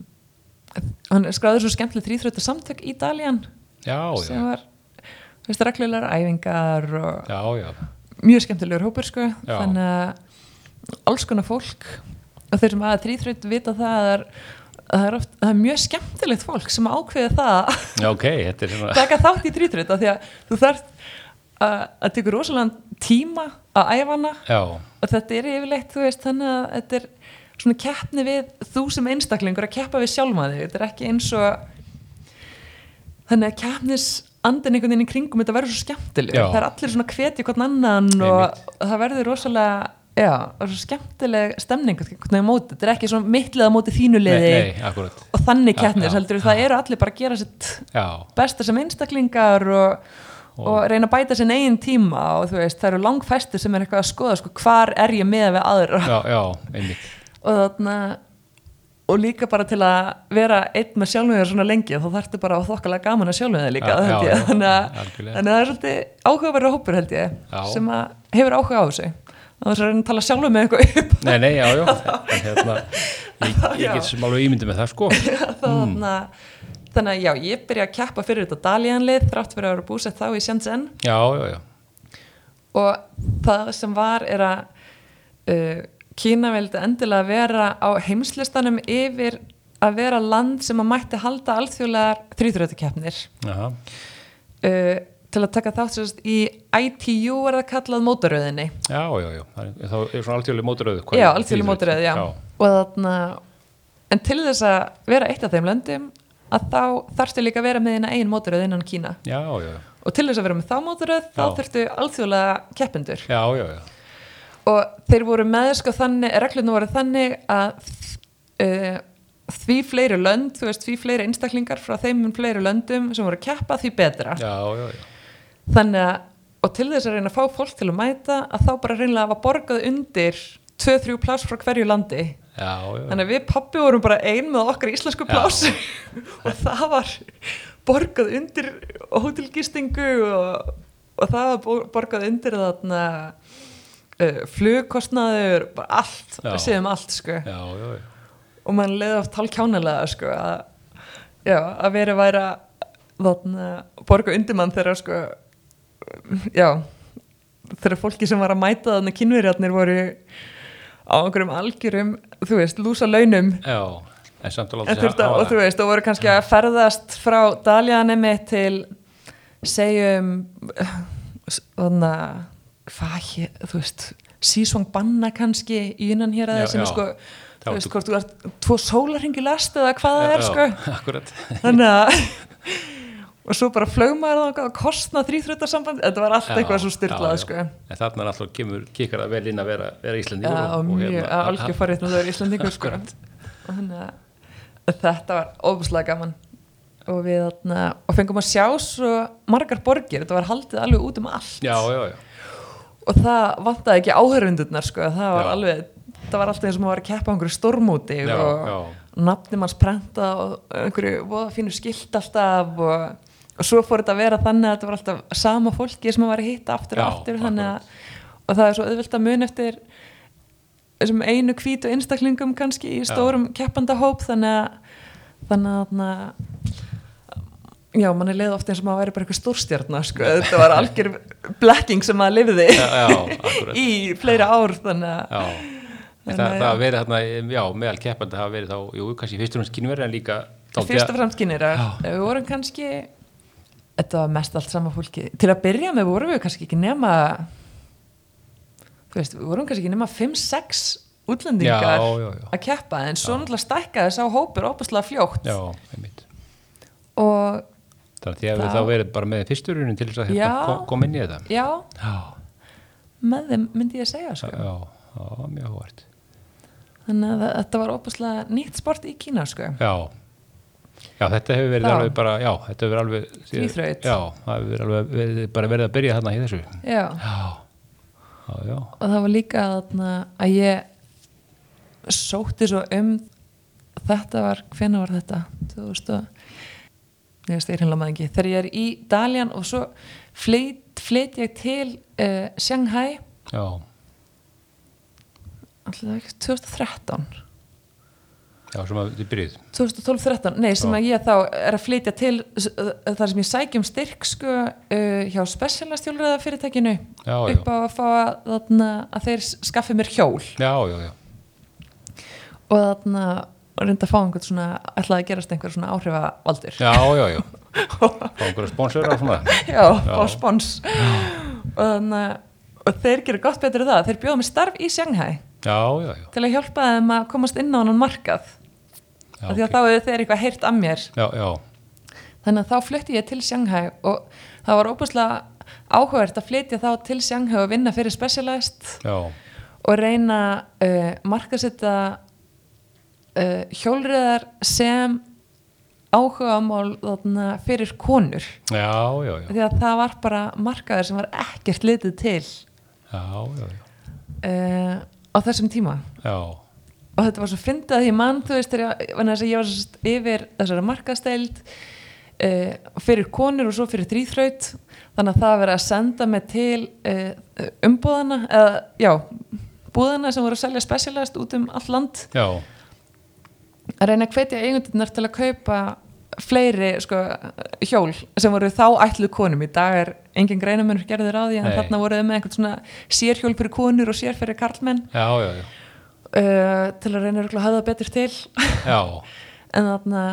B: hann er skráður svo skemmtilegt þrýþrauta samtök í Dalian
A: já, já,
B: sem var þú veist, reglulegar æfingar og
A: já, já,
B: mjög skemmtilegur hópur sko,
A: Já.
B: þannig að alls konar fólk og þeir sem að þrýþraut vita það að það er, að það er, oft, það er mjög skemmtilegt fólk sem ákveði það
A: já, ok, þetta er svona,
B: taka þátt í þrýtröð af því að þú þarft að að tekur rosalega tíma að að æfa hana
A: já,
B: og þetta er yfirleitt, þú veist, þannig að þetta er svona keppni við þú sem einstaklingur að keppa við sjálfa þig þetta er ekki eins og þannig að keppnis andin einhvern veginn í kringum þetta verður svo skemmtileg
A: Já.
B: það er allir svona hveti hvern annan og það verður rosalega já, það er svo skemmtileg stemning hvernig á móti, þetta er ekki svona mittlega á móti
A: nei,
B: þínu liði
A: nei, akkurat
B: og þannig
A: Já,
B: keppnis
A: já,
B: heldur það eru allir bara að gera sitt
A: já,
B: besta sem einstaklingar og, og, reyna að bæta sinn eigin tíma og þú veist, það eru langfæstir sem er eitthvað að skoða sko, hvar er ég með við aðra
A: já, já, einmitt
B: og þarna og líka bara til að vera einn með sjálfum þér svona lengi þá þarftu bara að þokkalega gaman að sjálfum þér líka
A: Já,
B: held
A: já,
B: ég.
A: já,
B: þannig, að,
A: algjörlega.
B: þannig að það er svolítið áhugaverður hópur held ég
A: Já.
B: sem að hefur áhuga á þessu þá þess að reyna að tala sjálfum með eitthvað upp
A: Nei, nei, já, já En hérna, ég, ég
B: Já.
A: get sem alveg ímyndi með það sko
B: þá þarna þannig að já, ég byrja að keppa fyrir þetta Dalianlið þrátt fyrir að vera búsett þá í Shenzhen
A: Já, já, já,
B: og það sem var er að uh, Kína vildi endilega vera á heimslistanum yfir að vera land sem að mætti halda alþjóðlegar þrýþröðukeppnir
A: Aha.
B: uh, til að taka þátt sérst í ITU er það kallað mótaröðinni
A: já, já, já það er- Þá er svona alþjóðlega mótaröðu
B: já, alþjóðlega mótaröð, já. og þarna en til þess að vera eitt af þeim löndum að þá þarftu líka að vera með þína einn mótaröð innan Kína
A: Já, já, já,
B: og til þess að vera með þá mótaröð þá
A: Já.
B: þurftu alþjóðlega keppendur
A: já, já, já.
B: og þeir voru með sko þannig, reglunum voru þannig að uh, því fleiri lönd, þú veist, því fleiri einstaklingar frá þeim mun fleiri löndum sem voru að keppa því betra.
A: Já, já, já.
B: Þannig að, og til þess að reyna að fá fólk til að mæta að þá bara reynilega hafa borgað undir 2-3 pláss frá hverju landi.
A: Já, já, já.
B: Þannig að við pappi vorum bara ein með okkar íslensku
A: Já.
B: pláss og það var borgað undir hótelgistingu og, og það var bo- borgað undir þarna uh, flugkostnaður, bara allt,
A: Já.
B: síðan allt sko
A: Já, já, já.
B: og mann leiði oft hálfkjánalega sko að, já, að vera væri að þarna, borga undir mann þegar sko já þegar fólki sem var að mæta þannig kynverjarnir voru á einhverjum algjörum, þú veist, lúsa launum
A: Já, en samt að láta
B: En
A: sig
B: þurfti,
A: hafa
B: og
A: það.
B: þú veist, og voru kannski að ferðast frá Daljanemi til segjum þannig að hvað hér, þú veist sísvang banna kannski í innan hér að
A: Já,
B: þessum
A: já.
B: sko,
A: Þá
B: þú veist
A: ertu-
B: hvort þú ert tvo sólarhingi lest eða hvað það er sko
A: Já, akkurat.
B: þannig að og svo bara flögmaður þangað og kostna þrýþröttarsamband, þetta var allt
A: Já,
B: eitthvað svo
A: já,
B: styrlað
A: já.
B: sko
A: En þarna er alltaf kemur, kikar það vel inn að vera, vera Íslandi
B: Já, og
A: hérna,
B: mjög algjör forréttnaður Íslandingur sko.
A: Akkurat.
B: Og þannig að þetta var óbúslega gaman og við þarna, og fengum að sjá svo margar borgir, þetta var haldið alveg út um allt
A: Já, já, já.
B: og það vantaði ekki áhörundurnar sko. það var
A: Já.
B: alveg, það var alltaf eins og maður var að keppa á einhverju stormúti
A: Já,
B: og
A: já.
B: nafnum hans prenta og einhverju voða fínu skilt alltaf og, og svo fór þetta að vera þannig að þetta var alltaf sama fólki sem maður var að hitta aftur
A: Já,
B: og aftur þannig að, og það er svo auðvelt að mun eftir þessum einu hvítu einstaklingum kannski í
A: Já.
B: stórum keppandahóp þannig að þannig að Já, manni leið ofta eins og maður væri bara eitthvað stórstjarnar sko, þetta var algjör blekking sem maður lifði
A: Já, já, akkurat.
B: í fleiri ár þannig að
A: Já, En það,
B: Þannig að
A: það
B: eh, já.
A: hafa verið þarna, já, meðal keppandi hafa verið þá, jú, kannski fyrst og fremst kynverið en líka dálítið-
B: fyrst og fremst kynnirar
A: Já.
B: við vorum kannski þetta var mest allt sama fólki til að byrja með vorum við kannski ekki nema þú veist, við vorum kannski ekki nema 5-6 útlendingar
A: Já, já, já.
B: að keppa en svo náttúrulega stækkaði sá hópur opaslega fljótt
A: Já, einmitt.
B: og
A: Þannig að þið hefur
B: Þá-
A: þá verið bara með fyrsturunin til þess að hérna
B: Já.
A: kom- koma inn í þetta.
B: já,
A: Já,
B: með þeim myndi ég að segja sko.
A: já, já, mjög hóvart.
B: þannig að þetta var opaslega nýtt sport í Kína sko.
A: Já, já, þetta hefur verið
B: Já.
A: alveg bara, já, þetta hefur verið alveg...
B: Þríþraut.
A: Já, það hefur verið alveg verið, bara verið að byrja þarna í þessu.
B: já
A: Já, já, já,
B: og það var líka þarna, að ég sótti svo um þetta var, hvena var þetta 2000 og ég veist, ég hreinlega maður ekki, þegar ég er í Dalian og svo flyt, flyt ég til uh, Shanghai
A: já,
B: alltaf ekki 2013
A: já, sem að þið byrjuð.
B: 2012-13, nei, sem
A: Já.
B: að ég þá er að flytja til uh, þar sem ég sækjum styrk sko uh, hjá specialastjólræða fyrirtækinu
A: Já, já,
B: upp á að fá að, þarna, að þeir skaffi mér hjól
A: já, já, já,
B: og þarna og reynda að fá einhvern svona ætlaði að gerast einhver svona áhrifavaldur
A: já, já, já. Fá einhverja sponsora og svona.
B: já, fá
A: Já.
B: spons og þarna og og þeir gera gott betur en það, þeir bjóða með starf í Shanghai
A: Já, já, já.
B: til að hjálpa þeim að komast inn á hann markað
A: Já,
B: af
A: ok.
B: því að þá hefur þeir eitthvað heyrt að mér
A: já, já,
B: þannig að þá flutti ég til Shanghai og það var óbúslega áhugavert að flytja þá til Shanghai og vinna fyrir Specialized
A: já,
B: og reyna uh, markasetta uh, hjólriðar sem áhugamál þarna, fyrir konur
A: já, já, já,
B: því að það var bara markaður sem var ekkert litið til
A: já, já, já,
B: uh, á þessum tíma
A: já,
B: og þetta var svo fyndið að ég mann þú veist þegar ég, vegna þess að ég var svo yfir þessari markasteild uh, fyrir konur og svo fyrir þrýþraut þannig að það var verið að senda mig til uh, umbúðana eða já, búðana sem voru að selja specialist út um allt land
A: já,
B: að reyna að hvetja eigundirnar til að kaupa fleiri sko, hjól sem voru þá ætluð konum í dag er engin greinamennur gerður á því en
A: Nei.
B: þarna voruð með einhvern svona sérhjól fyrir konur og sér fyrir karlmenn
A: já, já, já,
B: uh, til að reyna örugglega að hafa það betur til
A: já,
B: en þarna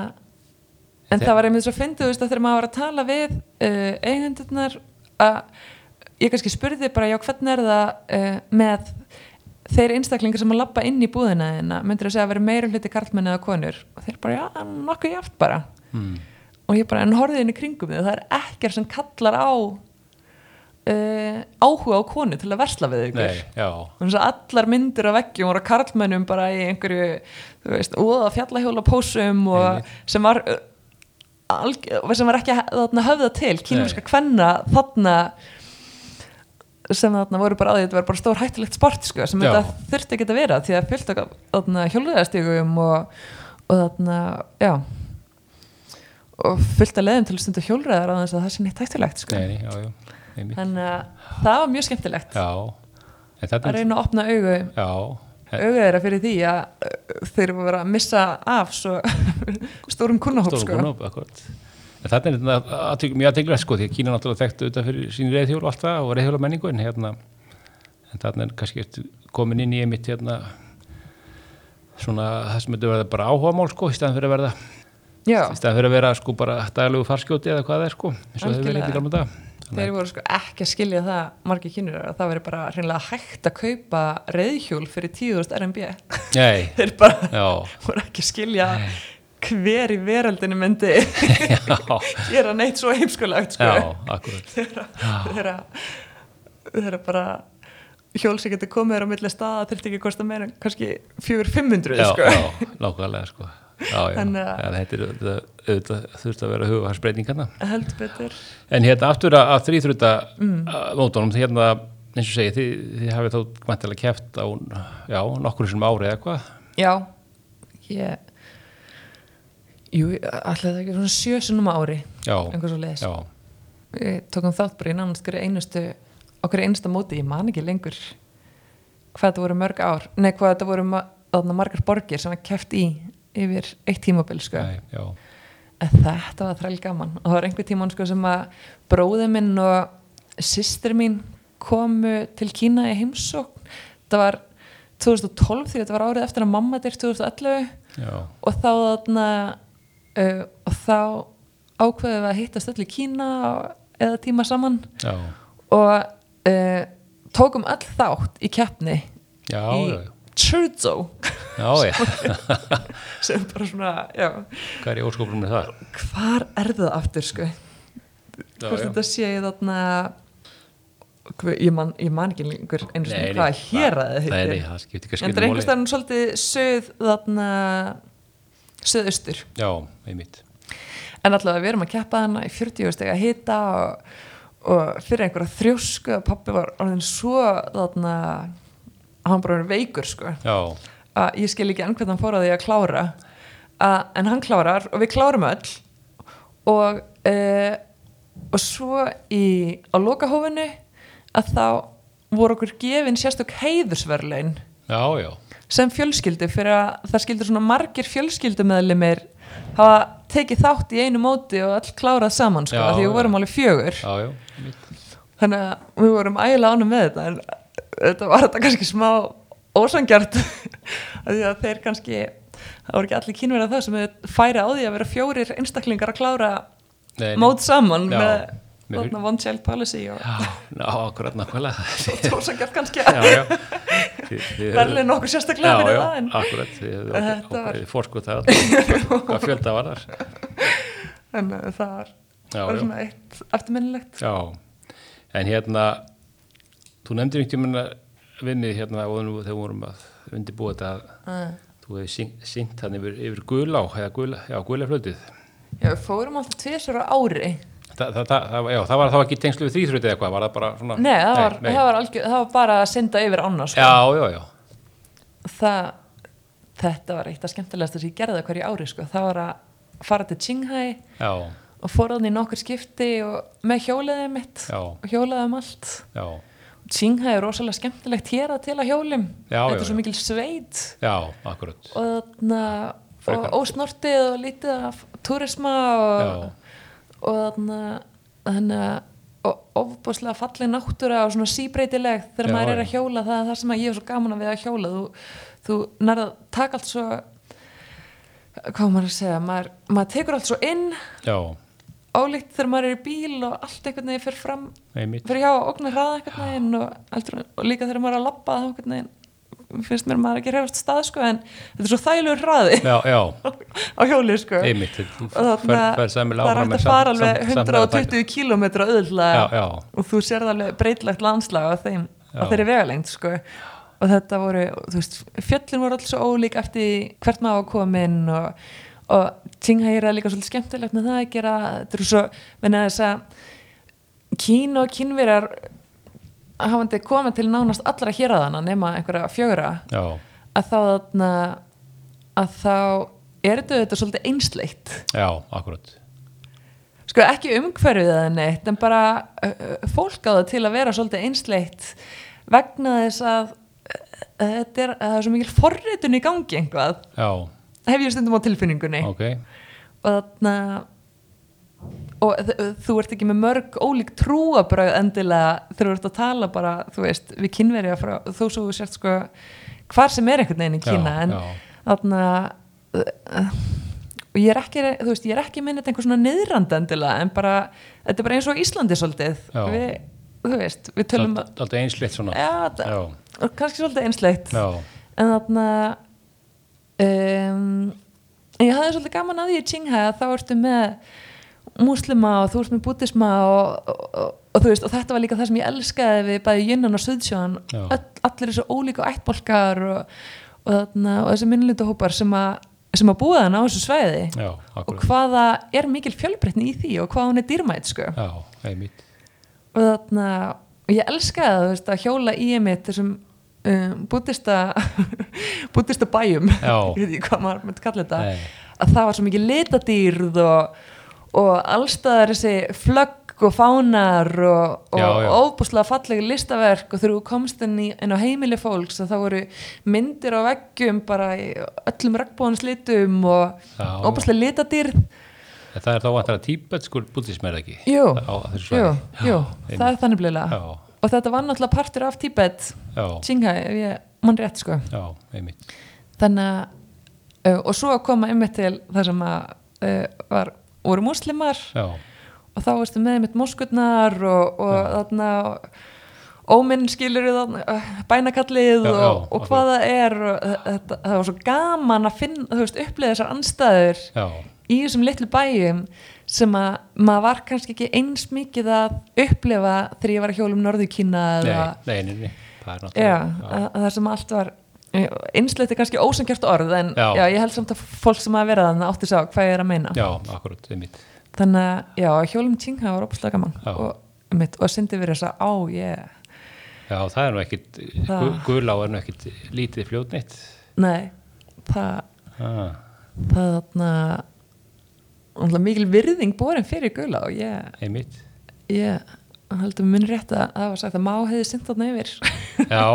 B: en það var einmitt svo fyndið þú veist, að þegar maður var að tala við uh, eigendurnar að ég kannski spurði bara já hvernig er það uh, með þeir einstaklingar sem að lappa inn í búðina þeirna myndir að segja að vera meira hluti karlmenn eða konur og þeir bara já nokkuð játt bara
A: mm,
B: og ég bara en horfið inn í kringum þið það er ekkert sem kallar á uh, áhuga á konu til að versla við ykkur
A: nei, já,
B: Þannig að allar myndir af veggjum voru karlmennum bara í einhverju, þú veist, óða fjallahjóla pósum og sem var uh, alg, sem var ekki þarna höfða til, kínumska kvenna þarna sem þarna voru bara á því, þetta var bara stór hættilegt sport sko, sem
A: Já.
B: þetta þurfti ekki að vera því að fyllt okkar þarna hjóluðastígum og, og þarna, já og fyllt að leiðum til að stunda hjólræðar á þess að það sé neitt hættilegt sko.
A: nei, já, já, einmitt,
B: þannig að það var mjög skemmtilegt
A: já, en þetta,
B: að
A: er-
B: reyna að opna augu
A: já, en-
B: auðvitað þeirra fyrir því að uh, þeir eru að vera að missa af svo stórum kunnahóp
A: stórum
B: sko.
A: konum, akkurat. En þetta er þetta aðtök- mjög aðteglast sko, því að Kína náttúrulega þekktu þetta fyrir sín reyðhjól og allt það og reyðhjóla menningu en hérna, en þarna er kannski ertu komin inn í einmitt hérna, svona það sem þetta verða bara áhugamál sko, í staðan fyrir að verða,
B: Já,
A: í staðan fyrir að vera sko bara daglegu farskjóti eða hvað það er sko, eins og þau verið
B: Algjörlega.
A: hérna í gamla dag.
B: þeir voru sko ekki að skilja það margir kynur að það veri bara hreinlega hægt að kaupa reyðhjól fyrir 10.000 RMB
A: Nei,
B: þeir bara
A: já,
B: voru ekki að skilja hver í veröldinu myndi
A: já,
B: gera neitt svo heimskulegt sko.
A: já, akkurat,
B: þeirra, þeirra, þeirra bara hjól sem getur komið þér á milli staða þurfti ekki að kosta meira en kannski 4-500
A: já,
B: sko.
A: já, nákvæmlega sko, já, já,
B: Þannig að-
A: en þetta er auðvitað, auðvitað þurft að vera hugafarsbreytingarna.
B: heldur betur
A: En hérna aftur að, að þrýþruta
B: Mm.
A: mótunum, því hérna, eins og segi, þið, þið hafið þá mæntilega keft á já, nokkur sem ári eða hvað.
B: Já ég Jú, allir það ekki svona sjö sinnum á ári
A: Já,
B: einhvers og leiðis
A: já,
B: Við tókum þátt bara í nánast hverju einustu okkur einustu móti, ég man ekki lengur hvað þetta voru mörg ár nei, hvað þetta voru ma þarna margar borgir sem að keft í yfir eitt tímabil sko.
A: nei, já,
B: en þetta var þræl gaman og það var einhver tíman sko, sem að bróði minn og systir mín komu til Kína í heimsókn þetta var 2012 því þetta var árið eftir að mamma dyr 2011
A: já,
B: og þá þarna uh, og þá ákveðum við að hittast öll í Kína á- eða tíma saman
A: já,
B: og uh, tókum öll þátt í keppni
A: já,
B: í
A: já,
B: Chuzhou
A: já, já,
B: sem bara svona, já
A: hvað er í óskopunum með það?
B: hvar er það aftur sko
A: Já,
B: hvort
A: já.
B: þetta sé ég þarna Guð, ég man, ég man ekki lengur einu
A: Nei,
B: sinni
A: nei,
B: hvað hér að
A: það-
B: þetta
A: Nei, nei, það skiptir ekki að
B: en það er einhvers staðar svolítið söð þarna söðaustur
A: Já, einmitt,
B: en allavega við erum að keppa hana í 40 steg að hita og, og fyrir einhverja þrjósku að pappi var orðin svo þarna hann bara verið veikur sko
A: já,
B: að ég skil ekki enn hvernig hann fór að því að klára að, en hann klárar og við klárum öll og e, og svo í á lokahófinu að þá voru okkur gefin sérstök heiðursverlein
A: já, já,
B: sem fjölskyldu fyrir að það skildur svona margir fjölskyldumeðlimir hafa tekið þátt í einu móti og all klárað saman sko,
A: Já,
B: já, því
A: já.
B: við vorum alveg fjögur
A: já, já, einmitt,
B: þannig að við vorum ægilega ánum með þetta en þetta var þetta kannski smá ósangjart af því að þeir kannski það voru ekki allir kynverið það sem þau færi á því að vera fjórir einstaklingar að klára
A: Nei, nei.
B: mót saman
A: Já.
B: með
A: Mér finnst-
B: þarna one child policy og
A: Já, ná, akkurat nákvæmlega
B: tósangjöf kannski
A: Já, já Þið- þið höfðuð-
B: verðlega nokkuð sérstaklega
A: já, já,
B: fyrir það en,
A: akkurat, þið
B: En
A: hefðu
B: þetta var-
A: ákveðið fórskot það hvað fjölda var þar
B: en uh, það var,
A: Já,
B: var
A: já.
B: svona eitt eftirminnilegt
A: já, en hérna þú nefndir einhvern tímann við mig hérna áður nú þegar við vorum að undirbúa þetta að
B: uh.
A: þú hefði syng- syngt hann yfir, yfir gulá eða gula, já, gula flötið
B: já, við fórum alltaf tvisur á ári
A: Þa, það, það, það, já, það var þá ekki tengslu við þrýþrötið eitthvað, var það bara svona
B: nei, það var,
A: nei.
B: Það, var algjör, það var bara að synda yfir ána sko.
A: Já, já, já,
B: það, þetta var eitt af skemmtilegast sem ég gerði á hverju ári sko. það var að fara til Qinghai
A: já,
B: og fór hann í nokkur skipti og með hjóliðið mitt
A: Já.
B: og hjóliðið um allt
A: já,
B: Qinghai er rosalega skemmtilegt hér að til að hjólum
A: Já,
B: þetta
A: já,
B: er
A: já.
B: svo mikil sveit
A: já, akkurat
B: og þarna og
A: Frekar.
B: ósnortið og lítið af túrisma og, og þarna þannig að og ofbúslega falleg náttúra og svona síbreytileg þegar
A: Já,
B: maður er að
A: já.
B: hjóla það er það sem að ég er svo gaman að við að hjóla þú, þú nærða takk allt svo hvað á maður að segja maður, maður tekur allt svo inn
A: Já,
B: ólíkt þegar maður er í bíl og allt einhvern veginn fyrir fram
A: einmitt
B: fyrir hjá og ógnar hraða einhvern veginn og, aldrei, og líka þegar maður er að labba þá einhvern veginn finnst mér maður ekki hefast stað sko en þetta er svo þægilegur hraði
A: Já, já,
B: á hjóli sko
A: einmitt Þú
B: og þarna
A: fer
B: það
A: sæmilega
B: er
A: áfram
B: hægt
A: með
B: að
A: sam-
B: fara alveg
A: sam- samhliða takti.
B: 120 km auðvitað
A: Já, já,
B: og þú sérð alveg breytlegt landslag á þeim á
A: Já.
B: þeirri vegalengd sko og þetta voru, þú veist, fjöllin voru alls svo ólík eftir því hvert maður var kominn og, og Tinghægir er líka svolítið skemmtilegt með það að gera þetta er svo, menna þess að Kín og kínverjar hafandi komið til nánast allra héraðana nema einhverja fjögra
A: já,
B: að þá þarna að þá er þetta auðvitað svolítið einsleitt
A: já, akkurat
B: sko ekki umhverfið eða neitt en bara uh, uh, fólk á það til að vera svolítið einsleitt vegna þess að uh, þetta er, að það er svo mikil forritun í gangi einhvað,
A: Já,
B: hef ég stundum á tilfinningunni
A: ok,
B: og þarna og þ- þú ert ekki með mörg ólík trúabröð endilega þegar þú ert að tala bara, þú veist, við kynverja frá, þó svo þú sért sko hvar sem er einhvern veginn í
A: Já,
B: Kína en
A: já.
B: þarna uh, og ég er ekki, þú veist, ég er ekki minnit einhver svona niðrand endilega en bara, þetta er bara eins og á Íslandi svolítið
A: Já.
B: við, þú veist, við tölum um að
A: alltaf einsleitt svona
B: já,
A: Já,
B: það- og kannski svolítið einsleitt
A: já,
B: en þarna um, ég hafði svolítið gaman að því í Qinghai að þá ertu með múslima og þú ert með búddisma og, og, og, og þú veist og þetta var líka það sem ég elskaði við bæði Jönnan og Suðsjón
A: Já.
B: öll, allir þessu ólíku ættbólkar og, og, þarna, og þessi minnlutahópar sem, a, sem að búa þann á þessu svæði
A: já,
B: og
A: akkurat
B: hvaða er mikil fjölbreytni í því og hvað hún er dýrmætt sko
A: Já, einmitt,
B: og þarna og ég elskaði það, þú veist, að hjóla í emitt þessum um, búttista búttista bæjum
A: Já.
B: ég veit ekki hvað maður myndi kalla þetta
A: Nei.
B: að það var svo mikið litadýrð og, og allstaðar þessi flögg og fánar og,
A: Já,
B: og
A: já.
B: óbúslega falleg listaverk og þegar þú komst inn, í, inn á heimili fólks að þá voru myndir á veggjum bara í öllum regnbóðanslitum og
A: Já, já.
B: óbúslega litadýrð
A: En það er þá vantar að tíbetskur búttismæri ekki
B: Jú,
A: á þessu
B: jú,
A: svæði. Já,
B: jú,
A: einmitt.
B: það er þannig bliðlega
A: Já,
B: og þetta var náttúrulega partur af Tíbet
A: já,
B: Qinghai, ef ég mann rétt sko
A: já, einmitt
B: þannig að uh, og svo að koma einmitt til það sem að uh, var, voru múslimar
A: Já,
B: og þá varstu með einmitt moskutnar og, og þarna óminn skilur bænakallið
A: Já, já,
B: og, og hvað það er og þa- þetta, það var svo gaman að finna, þú veist, upplega þessar anstæður
A: já,
B: í þessum litlu bæjum sem að maður var kannski ekki eins mikið að upplefa þegar ég var að hjólum norðukína eða
A: nei, nei, nei, nei, það er
B: já,
A: náttúrulega
B: að, að það sem allt var einsleitt er kannski ósangjart orð en já.
A: Já.
B: ég held samt að fólk sem að vera þannig átti sá hvað ég er að meina
A: Já, akkurat, einmitt
B: þannig að já, hjólum Qinghai var opaslega gaman
A: Já.
B: og, mitt, og syndi verið þess að á ég,
A: Já, það er nú ekkit,
B: Það-
A: gu- gulá er nú ekkit lítið fljótnitt
B: nei það,
A: ah,
B: það þarna umtla, mikil virðing borin fyrir gula og ég,
A: Einmitt
B: ég heldum mun rétt að það var sagt að má hefði synd þarna yfir
A: Já,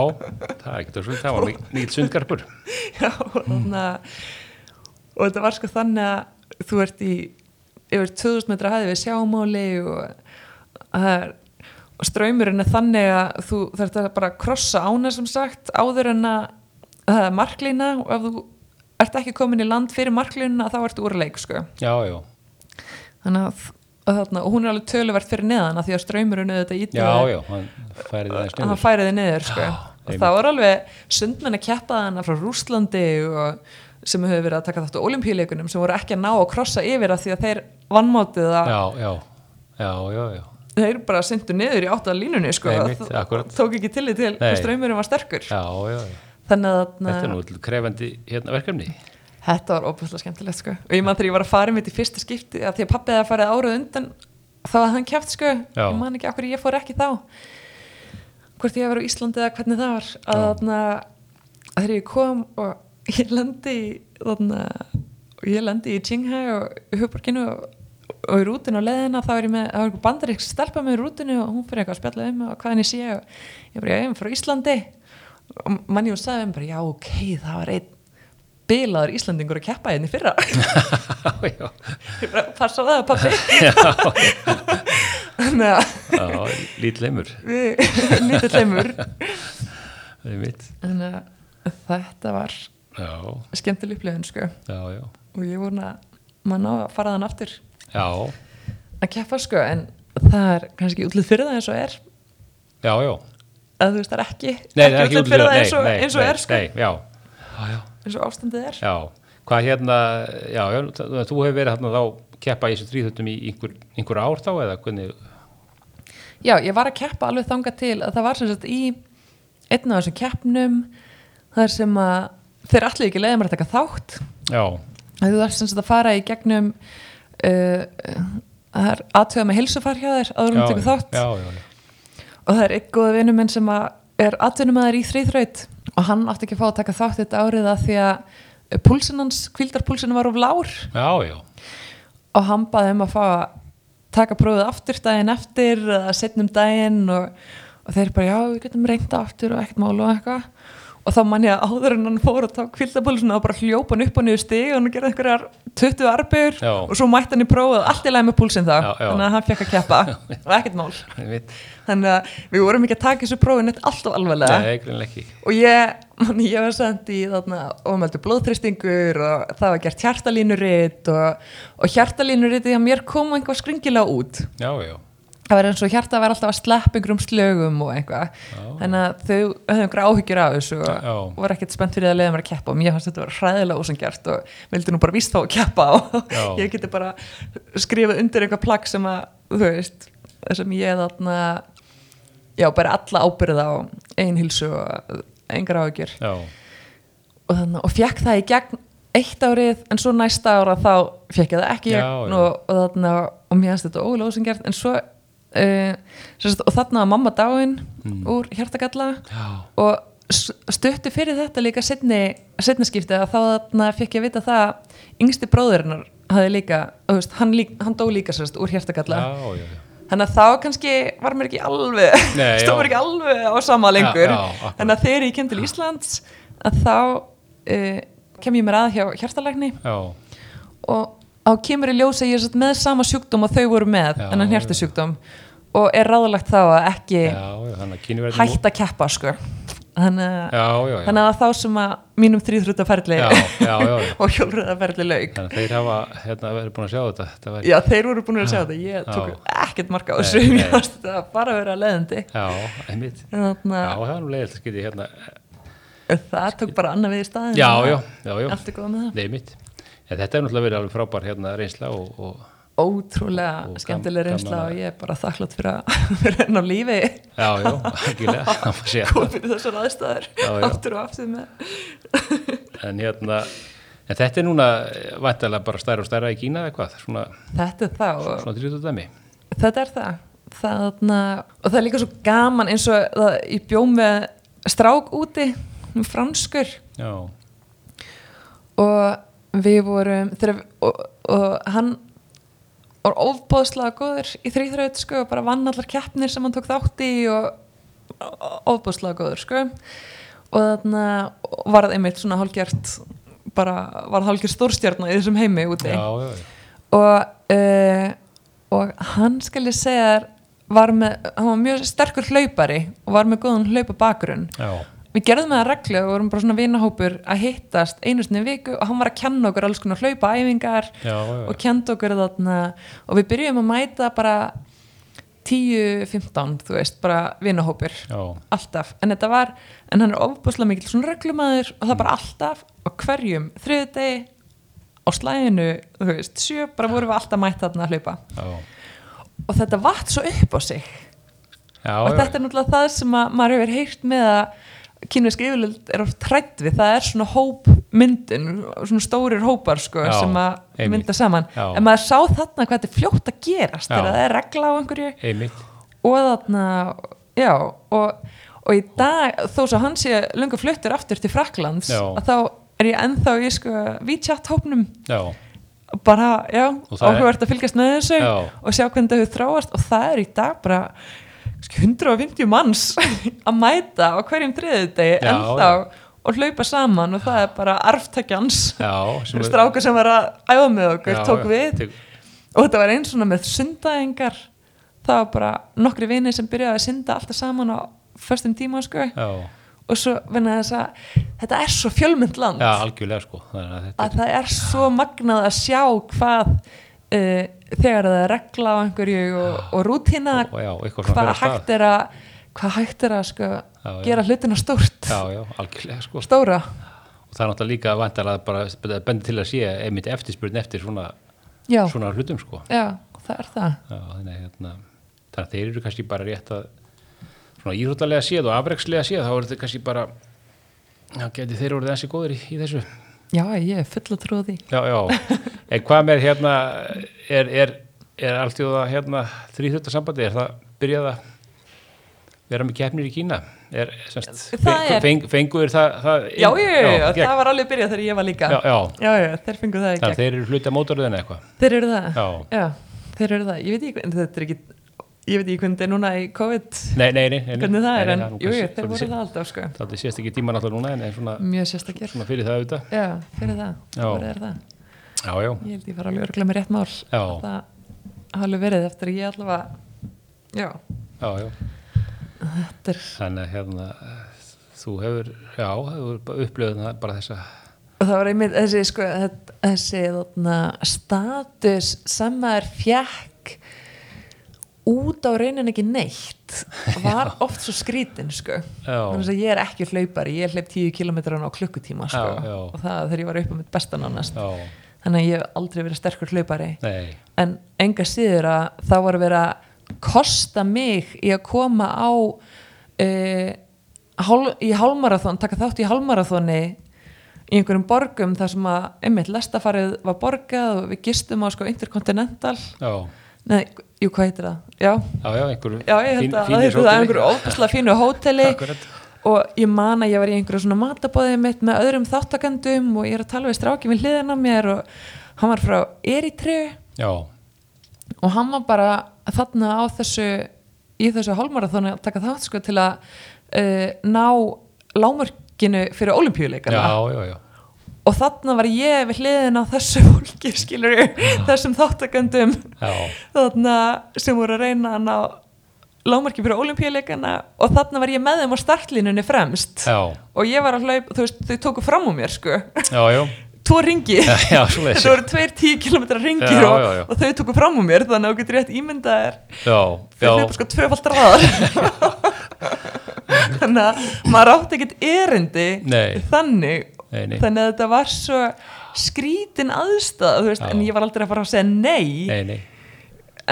A: það er ekkit að svolítið, það var mik- mikill sundgarpur
B: já, og þarna og þetta var sko þannig að þú ert í yfir 2000 metra hæði við sjámáli og, það er- og ströymurinn er þannig að þú þarft að bara krossa ána sem sagt áður en að það er marklína og ef þú ert ekki komin í land fyrir marklínuna þá ertu úrleik sko
A: Já, já,
B: þannig að og, þarna, og hún er alveg töluvert fyrir neðan af því að ströymurinn auðvitað ítti
A: já, já, hann færið það
B: að
A: stundum
B: hann færi þið niður sko.
A: Já,
B: og
A: einmitt.
B: það var alveg sundmenn að keppa hana frá Rúslandi og sem hefur verið að taka þátt á olimpíuleikunum sem voru ekki að ná að krossa yfir að því að þeir vannmótið að
A: já, já, já, já, já.
B: þeir bara syndu niður í áttaða línunni sko,
A: Einmitt,
B: og
A: akkúrat.
B: tók ekki til því til
A: Nei.
B: hvað ströymurinn var sterkur
A: Já, já, já.
B: þannig að þarna-
A: Þetta er nú til krefandi hérna verkefni.
B: þetta var óbúslega skemmtilegt sko. og ég man þegar ég var að fara mitt í fyrsta skipti að því að pappið að farið árað undan þá að hann keft sko,
A: Já.
B: ég man ekki okkur ég fór ekki þá hvort ég var á Íslandi eða hvernig það var að þarna að þegar ég kom og ég lendi í- þarna, og ég lendi í Qinghai og Hugborginu og, og í rútinu og leðina þá er ég með, þá er eitthvað bandarík stelpa með í rútinu og hún fyrir eitthvað að spjalla um og hvaðan ég sé og ég bara, já, ég er frá Íslandi og manni hún sagði um bara, já, ok, það var einn bilaður Íslandingur að keppa hérna í fyrra
A: já,
B: Ég bara, passa á það pappi þannig að
A: já, lítleimur.
B: við lítið lemur
A: Það er mitt.
B: þannig að þetta var
A: Já,
B: skemmtileg upplifun sko
A: já, já.
B: og ég voru að maður ná að fara þann aftur
A: Já,
B: að keppa sko en það er kannski útlið fyrir það eins og er
A: já, já.
B: að þú veist það er ekki,
A: Nei, það er ekki
B: útlit fyrir
A: útlýður.
B: það eins og, eins og er sko
A: Nei, já. Já, já.
B: eins og ástandið er
A: Já, hvað hérna, já, já þú- þú hefur verið hérna þá keppa í þessu þrýþöndum í einhver, einhver ár þá eða hvernig,
B: Já, ég var að keppa alveg þanga til að það var sem sagt í einn af þessum keppnum þar sem að þeir allir ekki leiði mér að taka þátt
A: já,
B: að þú þarf sem sagt að fara í gegnum uh, að það er aðtöða með heilsufar hjá þér áður
A: já,
B: um tekur þátt
A: já, já, já,
B: og það er einn góða vinur minn sem að er atvinnumæður í þrýþraut og hann átti ekki að fá að taka þátt þetta árið að því að púlsinn hans, kvildarpúlsinn var of lár
A: já, já,
B: og hann baði um að fá að taka prófið aftur daginn eftir eða setnum daginn og, og þeir bara já, við getum reynda aftur og ekkert mál og eitthvað og þá man ég að áður en hann fór og tók kvildabólusuna og bara hljópa hann upp og niður stig og hann gerði einhverjar 20 arbegur
A: Já.
B: og svo mætti hann í prófið allt í lagi með púlsinn þá
A: Já, já.
B: þannig að hann fekk að keppa og ekkert mál
A: ég veit,
B: þannig að við vorum ekki að taka þessu prófið neitt alltaf alvarlega
A: nei, greinlega ekki,
B: og ég, man, ég var send í þarna ofmeldu blóðþristingur og það var gert hjartalínuritt og, og hjartalínuritti að mér kom einhvað skringilega út
A: já, já,
B: það var eins og hjarta var alltaf að sleppa einhverjum slögum og eitthvað þannig að þau höfðu einhverja áhyggjur af þessu og
A: Já.
B: voru ekkert spennt fyrir að leiða mér að keppa og mér fannst þetta var hræðilega ósengjart og vildi nú bara víst þá að keppa og
A: Já.
B: ég geti bara skrifað undir einhver plagg sem að, þú veist sem ég þarna já, bara alla ábyrða á einhilsu og engar áhyggjur
A: já,
B: og, þannig, og fekk það í gegn eitt árið en svo næsta ára þá fekk ég það ekki í
A: Já,
B: gegn
A: já.
B: og, og, þannig, og mér finnst þetta ólega ósengert en svo uh, sérst, og þarna var mamma dáin
A: Mm.
B: úr hjartagalla
A: já,
B: og s- stuttu fyrir þetta líka setni, setni skipti að þá þarna fekk ég að vita það að yngsti bróðurinnar hafði líka, þú veist, hann, lík, hann dó líka sérst, úr hjartagalla
A: já, já, já,
B: þannig að þá kannski var mér ekki alveg
A: Nei, já.
B: stóð mér ekki alveg á sama lengur
A: Já, já, akkurat.
B: þannig að þegar ég kem til Íslands að þá uh, kem ég mér að hjá hjartalækni
A: já,
B: og þá kemur í ljós að ég er satt með sama sjúkdóm og þau voru með
A: Já,
B: en hann hjartasjúkdóm og er ráðlagt þá að ekki
A: já, já, þannig að kynverðin
B: hætta að keppa sko þannig að,
A: já, já, já,
B: þannig að þá sem að mínum þrýþrutaferli
A: Já, já, já, já.
B: og hjólröðaferli lauk
A: þannig að þeir hafa, hérna, verið búin að sjá þetta, þetta var,
B: já þeir voru búin að segja þetta ég tók ekkert marka á þessu
A: Nei, nei.
B: mér fannst þetta bara að vera leðandi
A: já, einmitt, já,
B: þannig að
A: það er nú leiðilt að skytið, hérna,
B: Það tók bara annað við í staðin
A: já, já, já, já,
B: Allt er góð með það
A: einmitt, en þetta er náttúrulega verið alveg frábær, hérna, reynsla og, og,
B: Ótrúlega
A: Og gam-
B: skemmtileg reynsla
A: gaman að-
B: og ég er bara þakklátt fyrir að vera enn á lífi
A: já, já, algjörlega, það má segja
B: Góð fyrir þessar aðstæður
A: Já, já.
B: Aftur og aftur með
A: en hérna en þetta er núna vantilega bara stærra og stærra í Kína eða hvað, svona,
B: Þetta er það og
A: svona 30 dæmi
B: þetta er það Þarna, og það er líka svo gaman eins og það, ég bjó með strák úti franskur
A: já,
B: og við vorum þegar, við- og, og hann var ofbóðslega góður í þrýþraut sko og bara vann allar keppnir sem hann tók þátt í og ofbóðslega góður sko og þarna og varð einmitt svona hálgjart bara varð hálgjart stórstjarnar í þessum heimi úti
A: já, já, já,
B: og, uh, og hann skal ég segja þér, var með, hann var mjög sterkur hlaupari og var með góðan hlaupabakurinn
A: já,
B: við gerðum það að reglu og vorum bara svona vinahópur að hittast einu sinni í viku og hann var að kenna okkur alls konar hlaupaæfingar
A: Já, já.
B: og kenda okkur þarna og við byrjum að mæta bara 10-15 þú veist, bara vinahópur
A: Já.
B: alltaf, en þetta var en hann er ofbúslega mikill svona reglumæður og það bara alltaf og hverjum þriðdegi á slæðinu, þú veist, sjö bara vorum við alltaf mætt þarna að hlaupa
A: Já,
B: og þetta vatt svo upp á sig
A: já,
B: og
A: já.
B: þetta er náttúrulega það sem að maður hefur heyrt með að kynvesk yfirleitt er oft trætt við, það er svona hópmyndin, svona stórir hópar sko,
A: Já,
B: sem að
A: einmitt.
B: mynda saman
A: Já.
B: en maður sá þarna hvað þetta er fljótt að gerast
A: Já.
B: þegar það er regla á einhverju
A: Einmitt.
B: og þarna, já og, og í dag, þó svo hann sé lungu fluttur aftur til Fraklands
A: Já.
B: að þá er ég ennþá í sko VChat hópnum
A: Já,
B: bara, já,
A: Og það er-
B: áhugavert að fylgjast með þessu
A: Já.
B: og sjá hvernig þetta hefur þráast og það er í dag bara kannski 150 manns að mæta á hverjum þriðudegi
A: Já,
B: ennþá og hlaupa saman og það er bara arftakjans
A: já. sem er-
B: strákur sem var að æfa með okkur
A: Já,
B: tók
A: já,
B: við
A: tek-
B: og þetta var eins svona með sundaðingar það var bara nokkri vinir sem byrjaði að synda alltaf saman á föstum tíma sko
A: Já,
B: og svo vinna þess að þetta er svo fjölmynd land
A: já, algjörlega sko. Þannig að þetta
B: að það er svo magnað að sjá hvað uh, þegar það er regla á einhverju og, og rútina
A: Og- og já, eitthvað svona fer af
B: hvað
A: stað.
B: hægt er að hvað hægt er að sko,
A: já.
B: gera hlutina stórt
A: Já, já, algjörlega sko.
B: stóra
A: Og það er náttúrulega líka vantarlega bara að bendi til að sé einmitt eftirspurn eftir svona,
B: já,
A: svona hlutum sko.
B: já, það er það
A: Já, þannig, að, hérna, þannig að þeir eru kannski bara rétt að svona íhróttalega séð og afrekslega séð þá eru þeir kannski bara já, geti þeir orðið þessi góðir í, í þessu já,
B: já, ég er fulla trúði
A: já, en hvað með hérna er, er, er alltjóða hérna þrýþjóttasambandi, er það byrjað að vera með keppnir í Kína er, semst,
B: Það er-
A: feng, fengu þeir það, það
B: já, já, já, já,
A: gegn-
B: það var alveg byrjað þegar ég var líka
A: já, já,
B: já, já, þeir fengu það
A: þannig
B: í gegn
A: að þeir eru hluti að mótorðinu eitthvað
B: þeir eru það
A: Já.
B: þeir eru það, ég veit ekki en þetta er ekki ég veit ekki hvernig þetta er núna í COVID
A: nei, nei, nei, nei, nei,
B: hvernig það er,
A: nei,
B: en
A: nú
B: jú, jú,
A: kannski
B: þeir voru
A: svolítið
B: það alltaf sko.
A: sé- svolítið sést ekki tíma náttúrulega núna en, en svona,
B: mjög sérstakir
A: svona fyrir það auðvitað
B: Já, fyrir það,
A: Já.
B: það voru þær það.
A: Já, já,
B: Ég held ég fara alveg örgulega með rétt mál.
A: Já.
B: Það hafa alveg verið eftir að ég allavega, já,
A: já, já.
B: þetta er,
A: Þannig að hérna, þú hefur, já, hefur bara upplöðið það bara þessa,
B: og það var einmitt þessi, sko, þetta- þessi þarna, status sem maður fjekk út á raunin ekki neitt var oft svo skrítin sko
A: Já.
B: þannig að ég er ekki hlaupari ég hleyp 10 kilometran á klukkutíma sko
A: Já, já.
B: og það þegar ég var upp á mitt besta nánast
A: já,
B: þannig að ég hef aldrei verið sterkur hlaupari
A: nei,
B: en enga síður að það voru verið að kosta mig í að koma á uh, hál, í hálmarathon taka þátt í hálmarathoni í einhverjum borgum þar sem að einmitt lestafarið var borgað og við gistum á sko interkontinental
A: já,
B: neða, jú hvað heitir það? Já,
A: já, já, einhverju
B: já ég held að það heitir það einhverju óbúslega fínu hóteli
A: Akkurat.
B: og ég man að ég var í einhverju svona matabóðið mitt með öðrum þáttakendum og ég er að tala við stráki við hliðina á mér og hann var frá Eritreu
A: Já,
B: og hann var bara þarna á þessu í þessu hálmarathoni að taka þátt sko til að uh, ná lámörkinu fyrir
A: já,
B: olimpíuleikana
A: já, já,
B: og þarna var ég við hliðin á þessu fólki skilur þessum þáttakendum
A: já,
B: þarna sem voru að reyna að ná lámörki fyrir olimpíuleikana og þarna var ég með þeim á startlínunni fremst
A: já,
B: og ég var að hlaup, þú veist, þau tóku fram úr mér sko
A: já, já,
B: tvo ringi
A: já, svoleiðis.
B: þetta voru tveir tíu kilometra ringir
A: Já,
B: og,
A: já, já.
B: og þau tóku fram úr mér þannig að þú getur rétt ímyndað þér
A: já,
B: þau
A: já,
B: hlaupa sko tvöfalt raðar þannig að maður átti ekkert erindi
A: Nei.
B: þannig
A: Nei, nei.
B: þannig að þetta var svo skrítin aðstæð þú veist,
A: Já.
B: en ég var aldrei að fara að segja nei,
A: nei, nei,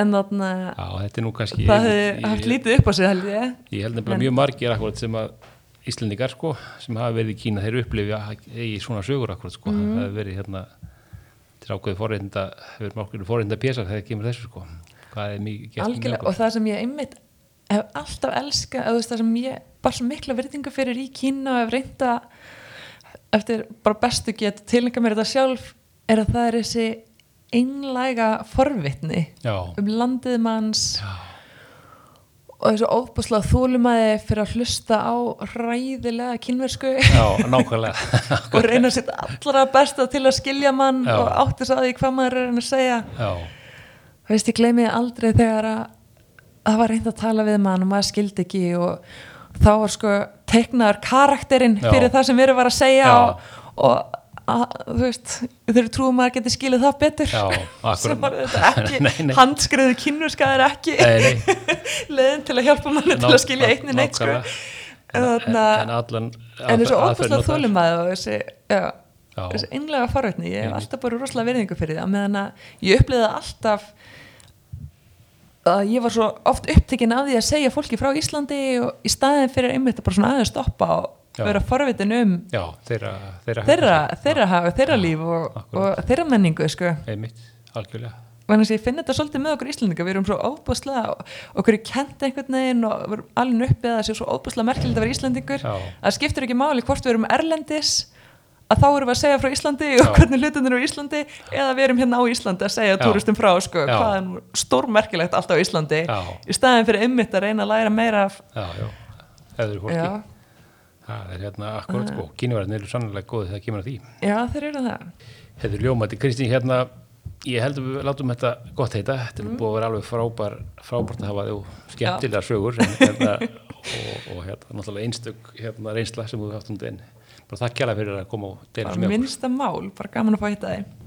B: en þarna
A: já, þetta er nú kannski
B: það
A: einmitt
B: hefði
A: í-
B: haft lítið upp á sig held ég
A: Ég held nefnilega mjög margir akkurat sem að Íslendingar sko, sem hafa verið í Kína þeir upplifi að eigi svona sögur akkurat sko,
B: Mhm.
A: það hefur verið hérna til ákveði forreynda, hefur mörgur forreynda pésar þegar kemur þessu sko hvað er mikið gert með
B: algjörlega,
A: okkur?
B: og það sem ég einmitt hef alltaf elska, eða þú veist það sem ég bara svo mikla verðingu fyrir í Kína og hef reynda eftir bara bestu get tilninga mér þetta sjálf er að það er þessi einlæga forvitni
A: Já,
B: um landið manns
A: Já.
B: og þessu ofbúslega þólumæði fyrir að hlusta á ræðilega kynversku
A: já, nákvæmlega
B: og reyna sitt allra besta til að skilja mann
A: Já.
B: og átti þess að því hvað maður er að reyna að segja
A: Já,
B: Þú veist, ég gleymiði aldrei þegar að að það var reynd að tala við mann og maður skildi ekki og þá var sko teiknaður karakterinn
A: Já.
B: fyrir það sem verið var að segja
A: Já.
B: og, og að, þú veist, þeir eru trúum að maður geti skilið það betur
A: Já,
B: sem var
A: akkurat.
B: þetta ekki
A: Nei, nei.
B: handskriðu kynnuska er ekki
A: Nei, nei.
B: leiðin til að hjálpa manni til
A: Nák-
B: að skilja einni neitt sko.
A: nákvæmlega.
B: en
A: en
B: þarna-
A: allan
B: en þessu
A: aðferð-
B: óbúslega
A: aðferð notaðar.
B: þólumæði og þessi já,
A: Já.
B: þessi einlega forvitni ég hef
A: Einmitt.
B: alltaf bara rosalega verðingu fyrir það meðan að ég upplýði alltaf að ég var svo oft upptekinn af því að segja fólki frá Íslandi og í staðin fyrir einmitt að bara svona aðeins stoppa og
A: Já.
B: vera forvitin um
A: já, þeirra þeirra,
B: þeirra, þeirra hafa, þeirra líf og,
A: akkúrat.
B: og þeirra menningu sko.
A: einmitt, algjörlega
B: Þannig að ég finn þetta svolítið með okkur Íslandinga, við erum svo óbúslega, okkur er kent einhvern veginn og við erum alveg uppið að það sé svo óbúslega merkilegt að vera Íslandingur,
A: Já.
B: að það skiptir ekki máli hvort við erum erlendis, að þá erum við að segja frá Íslandi og
A: Já.
B: hvernig hlutin eru á Íslandi, eða við erum hérna á Íslandi að segja
A: Já.
B: túristum frá, sko,
A: Já.
B: hvað er nú stórmerkilegt allt á Íslandi,
A: Já.
B: í staðin fyrir einmitt að reyna að læra meira af,
A: já, já, hefur fólki
B: já,
A: það er hérna akkurat sko, kínverðin eru sannlega góði þegar kemur að því
B: já, þeir eru það,
A: hefur ljómandi, Kristín hérna ég held að við látum þetta gott heita þetta er
B: Mm.
A: búið að vera alveg frábær, frábært að hafa þú skemmtilega sögur en, hérna, og, og hérna náttúrulega einstök hérna reynsla sem þú haft um deginn bara þakk kjæla fyrir að koma og deila
B: bara
A: sem ég
B: minnsta mál, bara gaman að fá að hitta þeim.